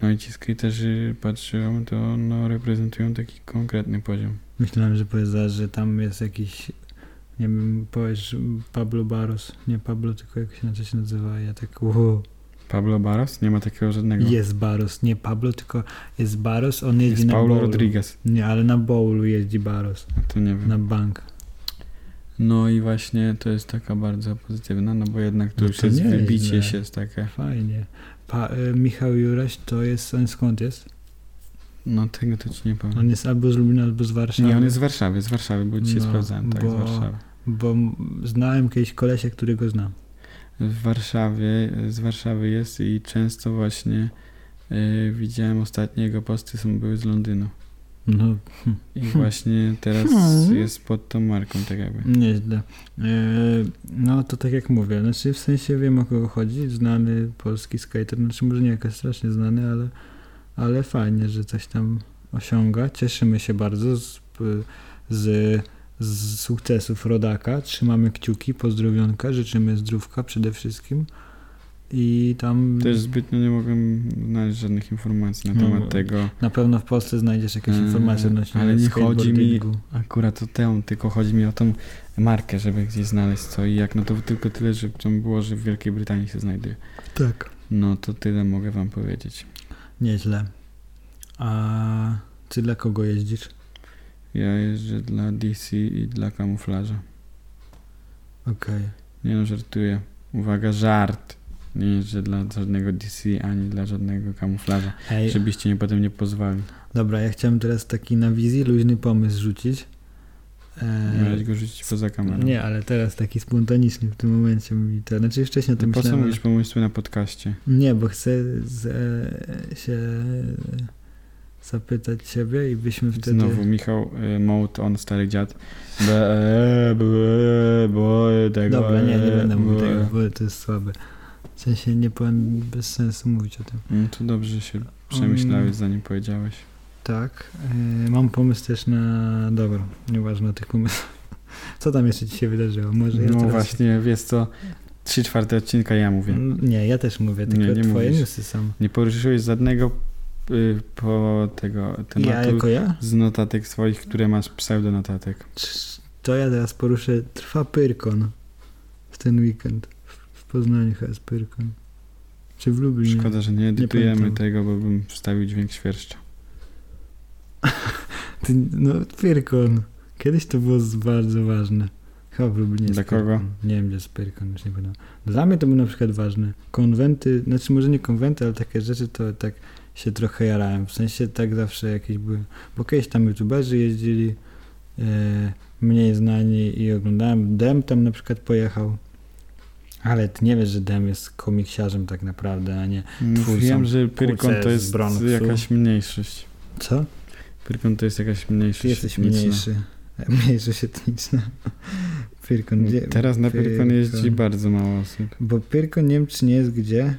Speaker 1: No i ci skaterzy patrzą, to no, reprezentują taki konkretny poziom.
Speaker 2: Myślałem, że powiedziałeś, że tam jest jakiś, nie wiem, powiesz Pablo Baros, nie Pablo, tylko jak się inaczej się nazywa, ja tak, wow.
Speaker 1: Pablo Barros? Nie ma takiego żadnego.
Speaker 2: jest Baros, nie Pablo, tylko jest Baros, on jeździ
Speaker 1: jest
Speaker 2: na
Speaker 1: Paulo
Speaker 2: bowlu.
Speaker 1: Rodriguez.
Speaker 2: Nie, ale na bowlu jeździ Baros,
Speaker 1: No To nie wiem.
Speaker 2: na bank.
Speaker 1: No i właśnie to jest taka bardzo pozytywna, no bo jednak tu
Speaker 2: No
Speaker 1: już
Speaker 2: to
Speaker 1: jest
Speaker 2: nieźle.
Speaker 1: wybicie się z takie.
Speaker 2: Fajnie. Pa, y, Michał Juraś to jest, on skąd jest?
Speaker 1: No tego to ci nie powiem.
Speaker 2: On jest albo z Lublina, albo z Warszawy.
Speaker 1: Nie, on jest z Warszawy, z Warszawy, bo dzisiaj
Speaker 2: No,
Speaker 1: sprawdzałem, tak, z
Speaker 2: bo-
Speaker 1: Warszawy.
Speaker 2: Bo m- znałem kiedyś kolesia, którego znam.
Speaker 1: W Warszawie, z Warszawy jest i często właśnie y, widziałem ostatnie jego posty, są były z Londynu.
Speaker 2: No,
Speaker 1: I właśnie teraz
Speaker 2: Hmm.
Speaker 1: jest pod tą marką, tak jakby.
Speaker 2: Nieźle. E, No to tak jak mówię, znaczy w sensie wiem o kogo chodzi, znany polski skater, znaczy może nie jakoś strasznie znany, ale, ale fajnie, że coś tam osiąga. Cieszymy się bardzo z, z, z sukcesów rodaka, trzymamy kciuki, pozdrowionka, życzymy zdrówka przede wszystkim i tam
Speaker 1: Też zbytnio nie mogłem znaleźć żadnych informacji na
Speaker 2: No,
Speaker 1: temat
Speaker 2: bo-
Speaker 1: tego.
Speaker 2: na pewno w Polsce znajdziesz jakieś
Speaker 1: Eee,
Speaker 2: informacje odnośnie
Speaker 1: ale nie chodzi mi-
Speaker 2: skateboardingu.
Speaker 1: Akurat o tę, tylko chodzi mi o tą markę, żeby gdzieś znaleźć co i jak. No to tylko tyle, że tam było, że w Wielkiej Brytanii się znajduje.
Speaker 2: Tak.
Speaker 1: No to tyle mogę wam powiedzieć.
Speaker 2: Nieźle. A ty dla kogo jeździsz?
Speaker 1: Ja jeżdżę dla DC i dla kamuflaża.
Speaker 2: Okej.
Speaker 1: Nie no, żartuję. Uwaga, żart. Nie jest, że dla żadnego DC ani dla żadnego kamuflaża.
Speaker 2: Ej,
Speaker 1: Żebyście mnie potem nie pozwali.
Speaker 2: Dobra, ja chciałem teraz taki na wizji luźny pomysł rzucić. E,
Speaker 1: Miałeś go No. rzucić poza kamerą.
Speaker 2: nie, ale teraz taki spontaniczny w tym momencie mi to. Znaczy wcześniej o
Speaker 1: To
Speaker 2: tym
Speaker 1: No po co
Speaker 2: myślałem.
Speaker 1: mówisz pomysły na podcaście?
Speaker 2: Nie, bo chcę z, e, się zapytać ciebie i byśmy wtedy...
Speaker 1: Znowu Michał y, Mołd, on stary dziad. Be, e, be, bo, tego,
Speaker 2: Dobra, nie, nie
Speaker 1: e,
Speaker 2: będę mówił
Speaker 1: bo-
Speaker 2: tego, bo to jest słabe. W sensie nie powiem, bez sensu mówić o tym.
Speaker 1: No to dobrze się przemyślałeś,
Speaker 2: Mm.
Speaker 1: zanim powiedziałeś.
Speaker 2: Tak, e, mam pomysł też na... Dobra, nieważne o tych pomysłach. Co tam jeszcze ci się wydarzyło? Może ja
Speaker 1: No
Speaker 2: teraz... Mm.
Speaker 1: właśnie, wiesz co, trzy czwarte odcinka ja mówię.
Speaker 2: N- Nie, ja też mówię, tylko
Speaker 1: Nie, nie
Speaker 2: twoje
Speaker 1: mówisz.
Speaker 2: newsy są.
Speaker 1: Nie poruszyłeś żadnego y, po tego
Speaker 2: Ja
Speaker 1: tematu
Speaker 2: jako ja?
Speaker 1: z notatek swoich, które masz pseudonotatek.
Speaker 2: Cz- To ja teraz poruszę. Trwa Pyrkon w ten weekend. W- W Poznaniu chyba jest Pyrkon. Czy w Lublinie?
Speaker 1: Szkoda, że nie edytujemy
Speaker 2: pamiętam.
Speaker 1: tego, bo bym wstawił dźwięk świerszcza.
Speaker 2: Ty, no, Pyrkon. Kiedyś to było z- bardzo ważne. Chyba w Lublinie jest
Speaker 1: Dla kogo?
Speaker 2: Pyrkon. Nie wiem, gdzie jest Pyrkon, już nie pamiętam. Dla mnie to było na przykład ważne. Konwenty, znaczy może nie konwenty, ale takie rzeczy to tak się trochę jarałem. W sensie tak zawsze jakieś były. Bo kiedyś tam youtuberzy jeździli, e, mniej znani i oglądałem. Dem tam na przykład pojechał. Ale ty nie wiesz, że Dem jest komiksiarzem tak naprawdę, a nie... Twórcą.
Speaker 1: Wiem, że Pyrkon
Speaker 2: Twórca
Speaker 1: to
Speaker 2: jest
Speaker 1: jest
Speaker 2: z Bronxu.
Speaker 1: jakaś mniejszość.
Speaker 2: Co?
Speaker 1: Pyrkon to jest jakaś mniejszość.
Speaker 2: Ty jesteś
Speaker 1: etniczna.
Speaker 2: mniejszy. Mniejszość etniczna. Pyrkon, gdzie...
Speaker 1: Teraz na Pyrkon jeździ
Speaker 2: Pyrkon.
Speaker 1: bardzo mało osób.
Speaker 2: Bo Pyrkon nie wiem, czy nie jest gdzie.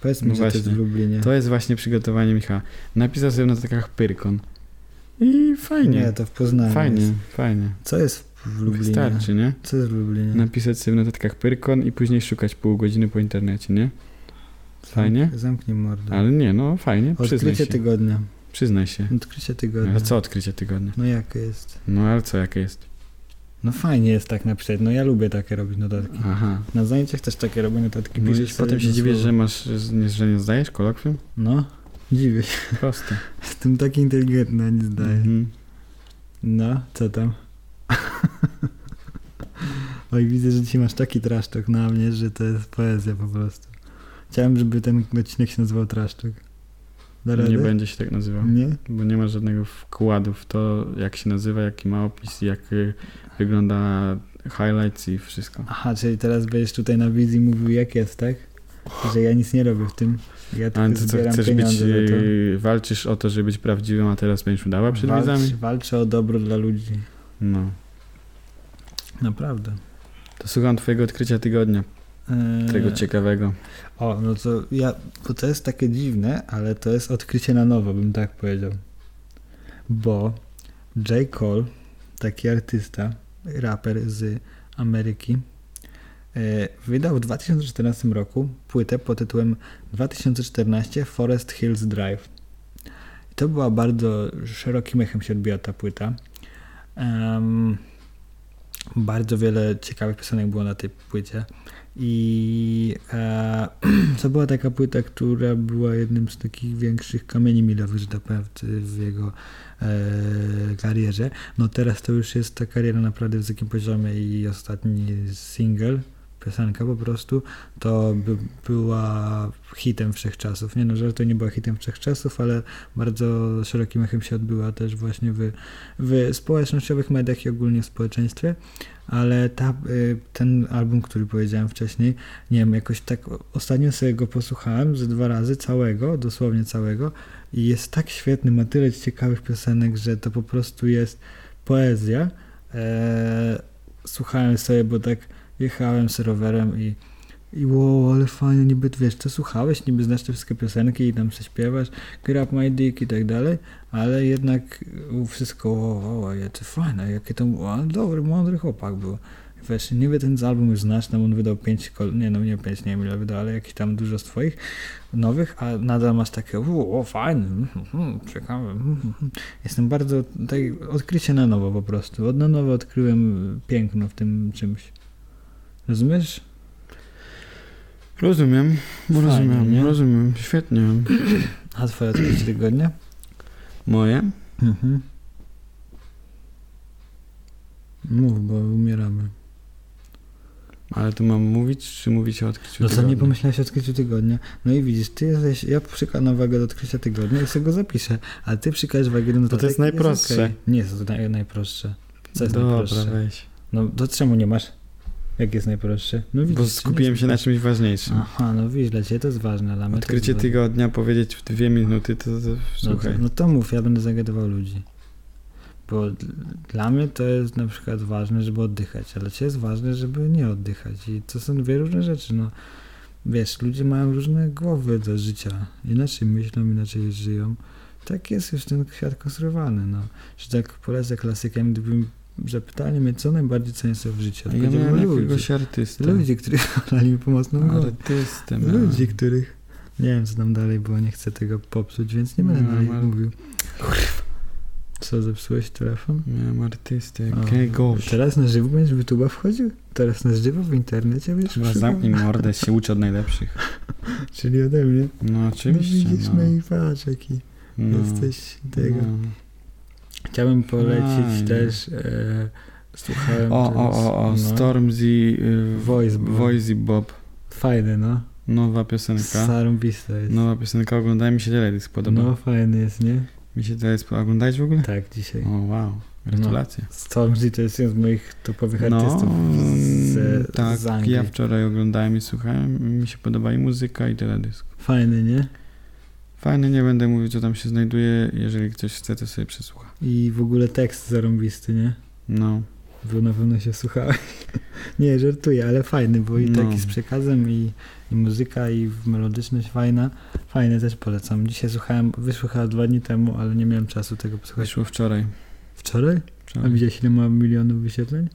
Speaker 2: Powiedzmy,
Speaker 1: No
Speaker 2: że to jest
Speaker 1: właśnie.
Speaker 2: w Lublinie.
Speaker 1: To jest właśnie przygotowanie Michała. Napisał sobie na takach Pyrkon. I fajnie.
Speaker 2: Nie, to w Poznaniu
Speaker 1: fajnie,
Speaker 2: Jest.
Speaker 1: fajnie.
Speaker 2: Co jest w Lublinie?
Speaker 1: Wystarczy, nie?
Speaker 2: Co jest w Lublinie?
Speaker 1: Napisać sobie w notatkach Pyrkon i później szukać pół godziny po internecie, nie? fajnie?
Speaker 2: Zamk- Zamknij mordę.
Speaker 1: Ale nie, no fajnie, przyznaj
Speaker 2: Tak. Odkrycie
Speaker 1: się.
Speaker 2: tygodnia.
Speaker 1: Przyznaj się.
Speaker 2: Odkrycie tygodnia.
Speaker 1: A co odkrycie tygodnia?
Speaker 2: No jakie jest?
Speaker 1: No ale co, jakie jest?
Speaker 2: No fajnie jest tak napisać. No ja lubię takie robić notatki.
Speaker 1: Aha.
Speaker 2: Na zajęciach też takie robię notatki.
Speaker 1: No i
Speaker 2: Piszesz sobie
Speaker 1: potem się
Speaker 2: jedno
Speaker 1: dziwisz,
Speaker 2: słowo.
Speaker 1: że masz, że- że nie zdajesz kolokwium?
Speaker 2: No, dziwię się.
Speaker 1: Proste.
Speaker 2: Jestem taki inteligentny, a nie zdaję.
Speaker 1: Mhm.
Speaker 2: No, co tam? Oj, widzę, że dzisiaj masz taki trasztok na mnie, że to jest poezja po prostu. Chciałem, żeby ten odcinek się nazywał trasztok. Da radę?
Speaker 1: Nie będzie się tak nazywał.
Speaker 2: Nie?
Speaker 1: Bo nie ma żadnego wkładu w to, jak się nazywa, jaki ma opis, jak y, wygląda highlights i wszystko.
Speaker 2: Aha, czyli teraz będziesz tutaj na wizji mówił jak jest, tak? Że ja nic nie robię w tym. Ja
Speaker 1: A
Speaker 2: tylko
Speaker 1: ty co,
Speaker 2: zbieram
Speaker 1: chcesz być,
Speaker 2: pieniądze za to.
Speaker 1: y, walczysz o to, żeby być prawdziwym, a teraz będziesz udała przed
Speaker 2: Walcz,
Speaker 1: widzami?
Speaker 2: walczę o dobro dla ludzi.
Speaker 1: No.
Speaker 2: Naprawdę.
Speaker 1: To słucham twojego odkrycia tygodnia,
Speaker 2: Eee,
Speaker 1: tego ciekawego.
Speaker 2: O, no to ja, bo to jest takie dziwne, ale to jest odkrycie na nowo, bym tak powiedział. Bo J. Cole, taki artysta, raper z Ameryki, e, wydał w 2014 roku płytę pod tytułem 2014 Forest Hills Drive. To była bardzo szerokim echem się odbiła ta płyta. Em, bardzo wiele ciekawych piosenek było na tej płycie. I e, to była taka płyta, która była jednym z takich większych kamieni milowych, że tak powiem, w- w jego e, karierze. No teraz to już jest ta kariera naprawdę w wysokim poziomie i ostatni single, piosenka po prostu, to by, była hitem wszechczasów. Nie no, że to nie była hitem wszechczasów, ale bardzo szerokim echem się odbyła też właśnie w, w społecznościowych mediach i ogólnie w społeczeństwie. Ale ta, y, ten album, który powiedziałem wcześniej, nie wiem, jakoś tak ostatnio sobie go posłuchałem ze dwa razy, całego, dosłownie całego i jest tak świetny, ma tyle ciekawych piosenek, że to po prostu jest poezja. Eee, słuchałem sobie, bo tak jechałem z rowerem i i wow, ale fajnie, niby wiesz, co słuchałeś, niby znasz te wszystkie piosenki i tam się śpiewasz, grab my dick i tak dalej, ale jednak u, wszystko, wow, wow, jakie fajne, jakie to, o, dobry, mądry chłopak był. Wiesz, niby ten z album już znasz, tam on wydał pięć, kol- nie no nie pięć, nie wiem ile wydał, ale jakiś tam dużo z twoich nowych, a nadal masz takie, o, o fajny, mm, mm, ciekawy. mm, mm. Jestem bardzo, tak, odkrycie na nowo po prostu, od na nowo odkryłem piękno w tym czymś. Rozumiesz?
Speaker 1: Rozumiem,
Speaker 2: Fajnie,
Speaker 1: rozumiem,
Speaker 2: No, nie?
Speaker 1: rozumiem, świetnie.
Speaker 2: A twoje odkrycie tygodnia?
Speaker 1: Moje?
Speaker 2: Mhm. Mów, bo umieramy.
Speaker 1: Ale tu mam mówić, czy mówić o odkryciu
Speaker 2: No co, nie
Speaker 1: tygodnia?
Speaker 2: pomyślałeś o odkryciu tygodnia. No i widzisz, ty jesteś, ja przykładam wagę do odkrycia tygodnia i sobie go zapiszę, a ty przykładasz wagę do notatek.
Speaker 1: to jest
Speaker 2: i
Speaker 1: najprostsze.
Speaker 2: okej. Nie jest to naj, najprostsze. Co jest
Speaker 1: Dobra,
Speaker 2: najprostsze?
Speaker 1: weź.
Speaker 2: No to czemu nie masz? Jak jest najprostszy? No widzisz,
Speaker 1: Bo
Speaker 2: czy nie
Speaker 1: skupiłem
Speaker 2: jest
Speaker 1: się na
Speaker 2: najprostszy?
Speaker 1: czymś ważniejszym.
Speaker 2: Aha, no widzisz, dla ciebie to jest ważne. Dla mnie to
Speaker 1: Odkrycie
Speaker 2: jest
Speaker 1: tygodnia powiedzieć w dwie minuty, to, to
Speaker 2: No to,
Speaker 1: słuchaj.
Speaker 2: no to mów, ja będę zagadywał ludzi. Bo dl- dla mnie to jest na przykład ważne, żeby oddychać, ale cię jest ważne, żeby nie oddychać. I to są dwie różne rzeczy. No, wiesz, ludzie mają różne głowy do życia. Inaczej myślą, inaczej żyją. Tak jest już ten świat konstruowany. No. Że tak polecę klasykiem, gdybym zapytali mnie, co najbardziej cenię sobie w życiu.
Speaker 1: Ja miałem
Speaker 2: Odpowiedziałbym ludzi.
Speaker 1: jakiegoś artystę. No.
Speaker 2: Ludzi, których dali mi pomocną głowę.
Speaker 1: Artystę miałem.
Speaker 2: Ludzi, których nie wiem, co tam dalej, bo nie chcę tego popsuć, więc nie będę
Speaker 1: No,
Speaker 2: dalej
Speaker 1: ale-
Speaker 2: mówił. Co, zepsułeś telefon?
Speaker 1: Miałem artystę
Speaker 2: A,
Speaker 1: jakiegoś.
Speaker 2: Teraz na żywo będziesz w YouTube'a wchodził? Teraz na żywo w internecie będziesz
Speaker 1: Chyba
Speaker 2: wszedł?
Speaker 1: zamknij mordę, się uczy od najlepszych.
Speaker 2: Czyli ode mnie.
Speaker 1: No oczywiście,
Speaker 2: No widzisz,
Speaker 1: no.
Speaker 2: no i patrz, jaki
Speaker 1: no.
Speaker 2: jesteś tego.
Speaker 1: No.
Speaker 2: Chciałbym polecić
Speaker 1: Fajnie.
Speaker 2: też, e, słuchałem
Speaker 1: O,
Speaker 2: teraz,
Speaker 1: o, o, o,
Speaker 2: no,
Speaker 1: Stormzy y,
Speaker 2: Voice Bob.
Speaker 1: Voice Bob.
Speaker 2: Fajny, no.
Speaker 1: Nowa
Speaker 2: Z
Speaker 1: piosenka.
Speaker 2: Sarą Bista jest.
Speaker 1: Nowa piosenka, oglądaj mi się teledysk tak? No, podoba.
Speaker 2: no, fajny jest, nie?
Speaker 1: Mi się teledysk podoba. Oglądałeś w ogóle?
Speaker 2: Tak, dzisiaj.
Speaker 1: O wow, gratulacje.
Speaker 2: Stormzy to jest jeden z moich topowych
Speaker 1: No,
Speaker 2: artystów z,
Speaker 1: tak,
Speaker 2: z Anglii.
Speaker 1: ja wczoraj oglądałem i słuchałem, mi się podoba i muzyka i teledysk.
Speaker 2: Fajny, nie?
Speaker 1: Fajnie, nie będę mówił co tam się znajduje, jeżeli ktoś chce to sobie przesłucha.
Speaker 2: I w ogóle tekst zarąbisty, nie?
Speaker 1: No,
Speaker 2: Bo na pewno się słuchałeś. nie, żartuję, ale fajny, bo i
Speaker 1: No.
Speaker 2: taki z przekazem, i, i muzyka, i melodyczność fajna. Fajny też polecam. Dzisiaj słuchałem, wyszło chyba dwa dni temu, ale nie miałem czasu tego posłuchać.
Speaker 1: wyszło wczoraj.
Speaker 2: Wczoraj? A
Speaker 1: wczoraj.
Speaker 2: widziałeś ile ma milionów wyświetleń?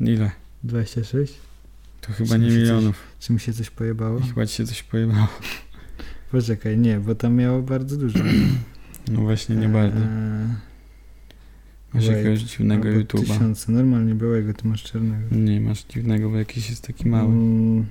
Speaker 1: Ile?
Speaker 2: 26?
Speaker 1: To chyba nie milionów.
Speaker 2: Czy mi się coś pojebało?
Speaker 1: I chyba ci się coś pojebało.
Speaker 2: Poczekaj, nie, bo tam miało bardzo dużo.
Speaker 1: No właśnie, nie bardzo.
Speaker 2: Eee,
Speaker 1: Masz
Speaker 2: wait,
Speaker 1: jakiegoś dziwnego
Speaker 2: albo
Speaker 1: YouTube'a.
Speaker 2: Tysiące, normalnie byłego, ty masz czarnego.
Speaker 1: Nie, masz dziwnego, bo jakiś jest taki mały.
Speaker 2: Mm,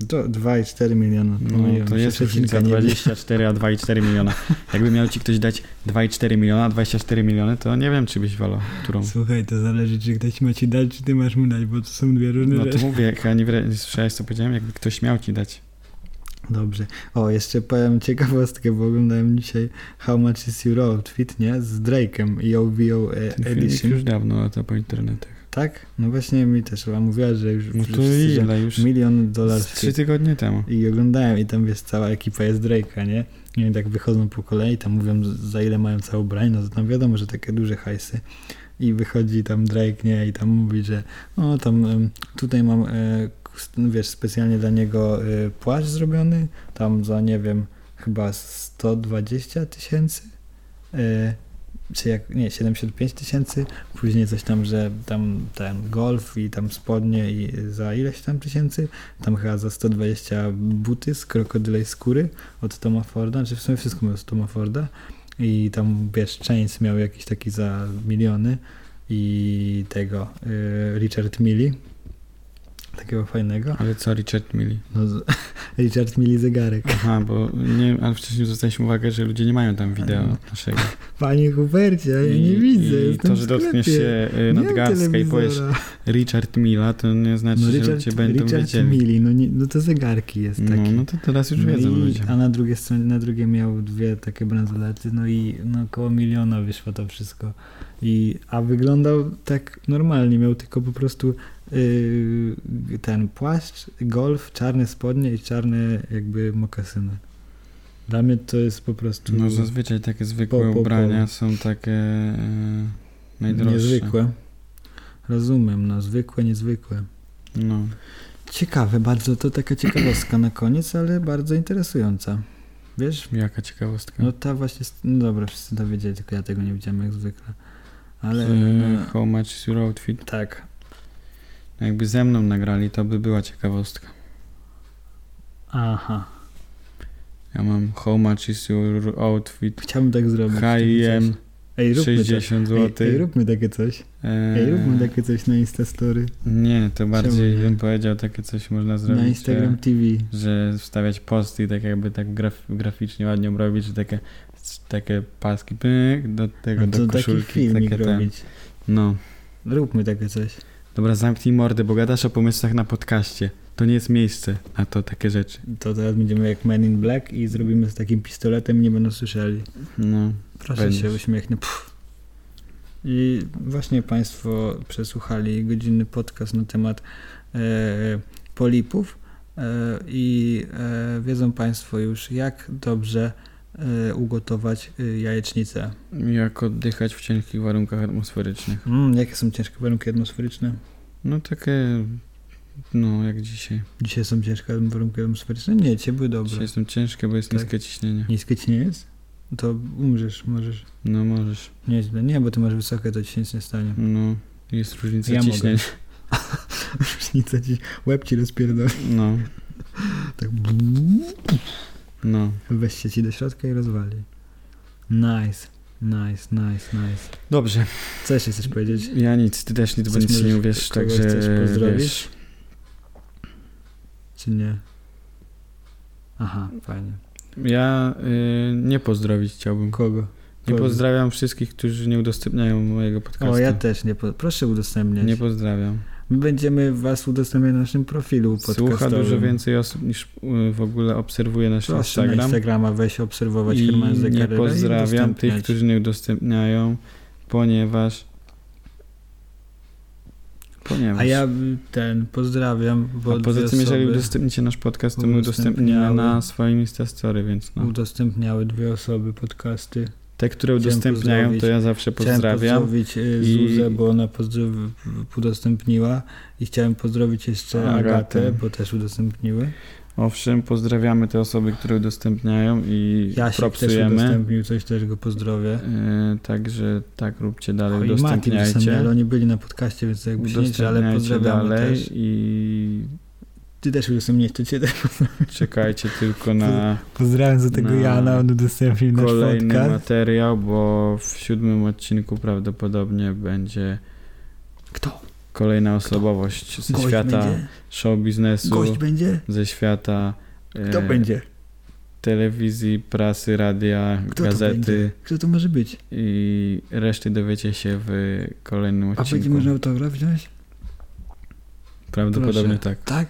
Speaker 2: Do 2,4 miliona.
Speaker 1: No,
Speaker 2: Pomyliłem
Speaker 1: to
Speaker 2: się,
Speaker 1: jest
Speaker 2: przecinka
Speaker 1: różnica
Speaker 2: nie
Speaker 1: 24, a 2,4 miliona. Jakby miał ci ktoś dać 2,4 miliona, 24 miliony, to nie wiem, czy byś wolał, którą.
Speaker 2: było. Słuchaj, to zależy, czy ktoś ma ci dać, czy ty masz mu dać, bo to są dwie różne
Speaker 1: No to
Speaker 2: rzeczy.
Speaker 1: mówię, jak ja nie, wra- nie słyszałeś, co powiedziałem, jakby ktoś miał ci dać.
Speaker 2: Dobrze. O, jeszcze powiem ciekawostkę, bo oglądałem dzisiaj How Much Is Your Outfit, nie? Z Drake'em i OVO e,
Speaker 1: Ten filmik
Speaker 2: Edition.
Speaker 1: już dawno lata po internetach.
Speaker 2: Tak? No właśnie mi też, ona mówiła, że już
Speaker 1: No to
Speaker 2: wszyscy, że
Speaker 1: ile już?
Speaker 2: milion dolarów.
Speaker 1: Z trzy tygodnie temu.
Speaker 2: I oglądałem i tam wiesz, cała ekipa jest Drake'a, nie? I oni tak wychodzą po kolei, tam mówią z- za ile mają całą brań, no to tam wiadomo, że takie duże hajsy. I wychodzi tam Drake, nie? I tam mówi, że o tam em, tutaj mam, e, kus- no wiesz, specjalnie dla niego e, płaszcz zrobiony, tam za nie wiem, chyba 120 tysięcy. E, czy jak, nie, 75 tysięcy, później coś tam, że tam ten golf i tam spodnie i za ileś tam tysięcy, tam chyba za 120 buty z krokodylej skóry od Toma Forda, czy w sumie wszystko miał z Toma Forda i tam wiesz, Chains miał jakiś taki za miliony i tego y, Richard Milli, takiego fajnego,
Speaker 1: Ale co Richard Mili?
Speaker 2: no, z, Richard Milli zegarek.
Speaker 1: Aha, bo nie, ale wcześniej zwracaliśmy uwagę, że ludzie nie mają tam wideo naszego.
Speaker 2: Panie Hubercie, Mm. ja
Speaker 1: I-
Speaker 2: nie widzę,
Speaker 1: I
Speaker 2: jestem
Speaker 1: to, że
Speaker 2: w sklepie.
Speaker 1: dotkniesz się y,
Speaker 2: Nie mam
Speaker 1: nadgarstka i powiesz
Speaker 2: telewizora.
Speaker 1: Richard Mila, to nie znaczy,
Speaker 2: No
Speaker 1: że
Speaker 2: Richard,
Speaker 1: ludzie będą
Speaker 2: Richard
Speaker 1: wiedzieli.
Speaker 2: Mili, no, nie, no to zegarki jest
Speaker 1: No,
Speaker 2: taki.
Speaker 1: no to teraz już wiedzą
Speaker 2: no i,
Speaker 1: ludzie.
Speaker 2: A na drugiej stronie, na drugie miał dwie takie bransolety, no i no, około miliona wyszło to wszystko. I, a wyglądał tak normalnie, miał tylko po prostu yy, ten płaszcz, golf, czarne spodnie i czarne jakby mokasyny. Dla mnie to jest po prostu
Speaker 1: No zazwyczaj takie zwykłe
Speaker 2: po, po.
Speaker 1: ubrania są takie e, najdroższe.
Speaker 2: niezwykłe. Rozumiem, no zwykłe, niezwykłe.
Speaker 1: No.
Speaker 2: Ciekawe, bardzo to taka ciekawostka na koniec, ale bardzo interesująca. Wiesz?
Speaker 1: Jaka ciekawostka.
Speaker 2: No ta właśnie. st- No dobra, wszyscy to wiedzieli, tylko ja tego nie widziałem jak zwykle. Ale.
Speaker 1: ale...
Speaker 2: no,
Speaker 1: E, How much is your outfit?
Speaker 2: tak.
Speaker 1: Jakby ze mną nagrali, to by była ciekawostka.
Speaker 2: Aha.
Speaker 1: Ja mam how much is your outfit?
Speaker 2: Chciałbym tak zrobić. chciałbym
Speaker 1: H&M
Speaker 2: coś. Ej, róbmy coś.
Speaker 1: 60
Speaker 2: Ej,
Speaker 1: zł.
Speaker 2: ej, róbmy takie coś.
Speaker 1: Eee.
Speaker 2: Ej, róbmy takie coś na Instastory.
Speaker 1: Nie, to bardziej
Speaker 2: nie?
Speaker 1: bym powiedział takie coś można zrobić.
Speaker 2: na Instagram TV.
Speaker 1: Że, że wstawiać posty i tak jakby tak graf, graficznie ładnie robić, że takie, takie paski pyk do tego,
Speaker 2: No to
Speaker 1: do
Speaker 2: taki
Speaker 1: koszulki.
Speaker 2: filmik
Speaker 1: takie ten.
Speaker 2: robić.
Speaker 1: No.
Speaker 2: Róbmy takie coś.
Speaker 1: Dobra, zamknij mordę, bo gadasz o pomysłach na podcaście. To nie jest miejsce na to takie rzeczy.
Speaker 2: To teraz będziemy jak Men in Black i zrobimy z takim pistoletem, nie będą słyszeli.
Speaker 1: No.
Speaker 2: Proszę
Speaker 1: Będziesz.
Speaker 2: się uśmiechnę. Pff, I właśnie Państwo przesłuchali godzinny podcast na temat e, polipów e, i e, wiedzą Państwo już, jak dobrze e, ugotować e, jajecznicę.
Speaker 1: Jak oddychać w cienkich warunkach atmosferycznych.
Speaker 2: Mm, jakie są ciężkie warunki atmosferyczne?
Speaker 1: No takie, no jak dzisiaj.
Speaker 2: Dzisiaj są ciężkie warunki atmosferyczne? Nie, cię były dobre.
Speaker 1: Dzisiaj są ciężkie, bo jest
Speaker 2: Tak.
Speaker 1: niskie ciśnienie.
Speaker 2: Niskie ci nie jest? To umrzesz, możesz.
Speaker 1: No możesz,
Speaker 2: Nieźle. Nie, bo ty masz wysokie, to ci się nic nie stanie.
Speaker 1: no jest różnica
Speaker 2: Ja mogę.
Speaker 1: ciśnienia.
Speaker 2: Różnica ci, łeb ci rozpierdol.
Speaker 1: No,
Speaker 2: Tak
Speaker 1: no.
Speaker 2: weź się ci do środka i rozwali. Nice, nice, nice, nice.
Speaker 1: Dobrze,
Speaker 2: Co jeszcze chcesz powiedzieć?
Speaker 1: ja nic, ty też nic, bo
Speaker 2: Coś
Speaker 1: nic nie
Speaker 2: możesz
Speaker 1: uwierz,
Speaker 2: kogoś
Speaker 1: także
Speaker 2: chcesz pozdrowić?
Speaker 1: wiesz.
Speaker 2: Czy nie? Aha, fajnie.
Speaker 1: Ja y, nie pozdrowić chciałbym.
Speaker 2: Kogo?
Speaker 1: Nie
Speaker 2: Kogo?
Speaker 1: pozdrawiam wszystkich, którzy nie udostępniają mojego podcastu.
Speaker 2: O, ja też nie. Po... Proszę udostępniać.
Speaker 1: Nie pozdrawiam.
Speaker 2: My będziemy was udostępniać na naszym profilu podcastowym.
Speaker 1: Słucha dużo więcej osób niż y, w ogóle obserwuje nasz
Speaker 2: Proszę na
Speaker 1: Instagram.
Speaker 2: Instagrama weź obserwować
Speaker 1: I
Speaker 2: Herman
Speaker 1: nie
Speaker 2: Zegarera i
Speaker 1: pozdrawiam
Speaker 2: udostępniać.
Speaker 1: tych, którzy nie udostępniają, ponieważ... Ponieważ...
Speaker 2: A ja y, ten pozdrawiam, bo
Speaker 1: A poza
Speaker 2: dwie
Speaker 1: tym, jeżeli
Speaker 2: osoby
Speaker 1: udostępnicie nasz podcast, to my udostępnimy
Speaker 2: udostępniały.
Speaker 1: na swoim Instastory, więc no.
Speaker 2: udostępniały dwie osoby podcasty.
Speaker 1: Te, które
Speaker 2: Chciałem
Speaker 1: udostępniają, to
Speaker 2: pozdrowić-
Speaker 1: ja zawsze
Speaker 2: Chciałem
Speaker 1: pozdrawiam.
Speaker 2: pozdrowić y,
Speaker 1: i-
Speaker 2: Zuzę, bo ona pozdrow- udostępniła i chciałem pozdrowić jeszcze
Speaker 1: Agatę.
Speaker 2: Agatę, bo też udostępniły.
Speaker 1: Owszem, pozdrawiamy te osoby, które udostępniają i
Speaker 2: Jasiek też
Speaker 1: propsujemy.
Speaker 2: udostępnił coś, też go pozdrowię.
Speaker 1: E, także tak róbcie dalej,
Speaker 2: O, I Mati udostępnił, ale
Speaker 1: udostępniajcie.
Speaker 2: oni byli na podcaście, więc jakby się nie liczy, ale
Speaker 1: Udostępniajcie
Speaker 2: pozdrawiamy
Speaker 1: dalej
Speaker 2: też.
Speaker 1: i
Speaker 2: Ty też udostępniłeś, to cię też
Speaker 1: czekajcie tylko na
Speaker 2: pozdrawiam za
Speaker 1: tego Na Jana, on
Speaker 2: udostępnił
Speaker 1: kolejny materiał, bo w siódmym odcinku prawdopodobnie będzie
Speaker 2: Kto?
Speaker 1: kolejna osobowość ze
Speaker 2: Gość
Speaker 1: świata
Speaker 2: będzie?
Speaker 1: show biznesu.
Speaker 2: Gość będzie?
Speaker 1: ze świata e,
Speaker 2: Kto będzie?
Speaker 1: telewizji, prasy, radia,
Speaker 2: Kto to
Speaker 1: gazety
Speaker 2: Kto to może być?
Speaker 1: i reszty dowiecie się w kolejnym
Speaker 2: A
Speaker 1: odcinku.
Speaker 2: będzie można autograf wziąć?
Speaker 1: Prawdopodobnie tak.
Speaker 2: Tak?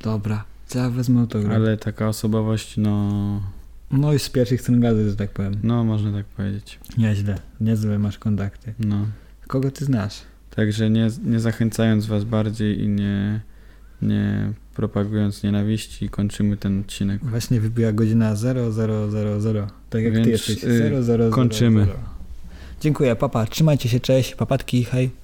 Speaker 2: Dobra, to ja wezmę autograf.
Speaker 1: Ale taka osobowość, no,
Speaker 2: No i z pierwszych stron gazet, że tak powiem.
Speaker 1: no można tak powiedzieć.
Speaker 2: Nieźle, niezłe masz kontakty.
Speaker 1: No.
Speaker 2: Kogo ty znasz?
Speaker 1: Także nie, nie zachęcając was bardziej i nie, nie propagując nienawiści, kończymy ten odcinek.
Speaker 2: Właśnie wybiła godzina 0000. Tak jak
Speaker 1: Więc,
Speaker 2: ty jesteś.
Speaker 1: y,
Speaker 2: 0000.
Speaker 1: kończymy.
Speaker 2: Dziękuję, papa. Trzymajcie się, cześć. Papatki, hej.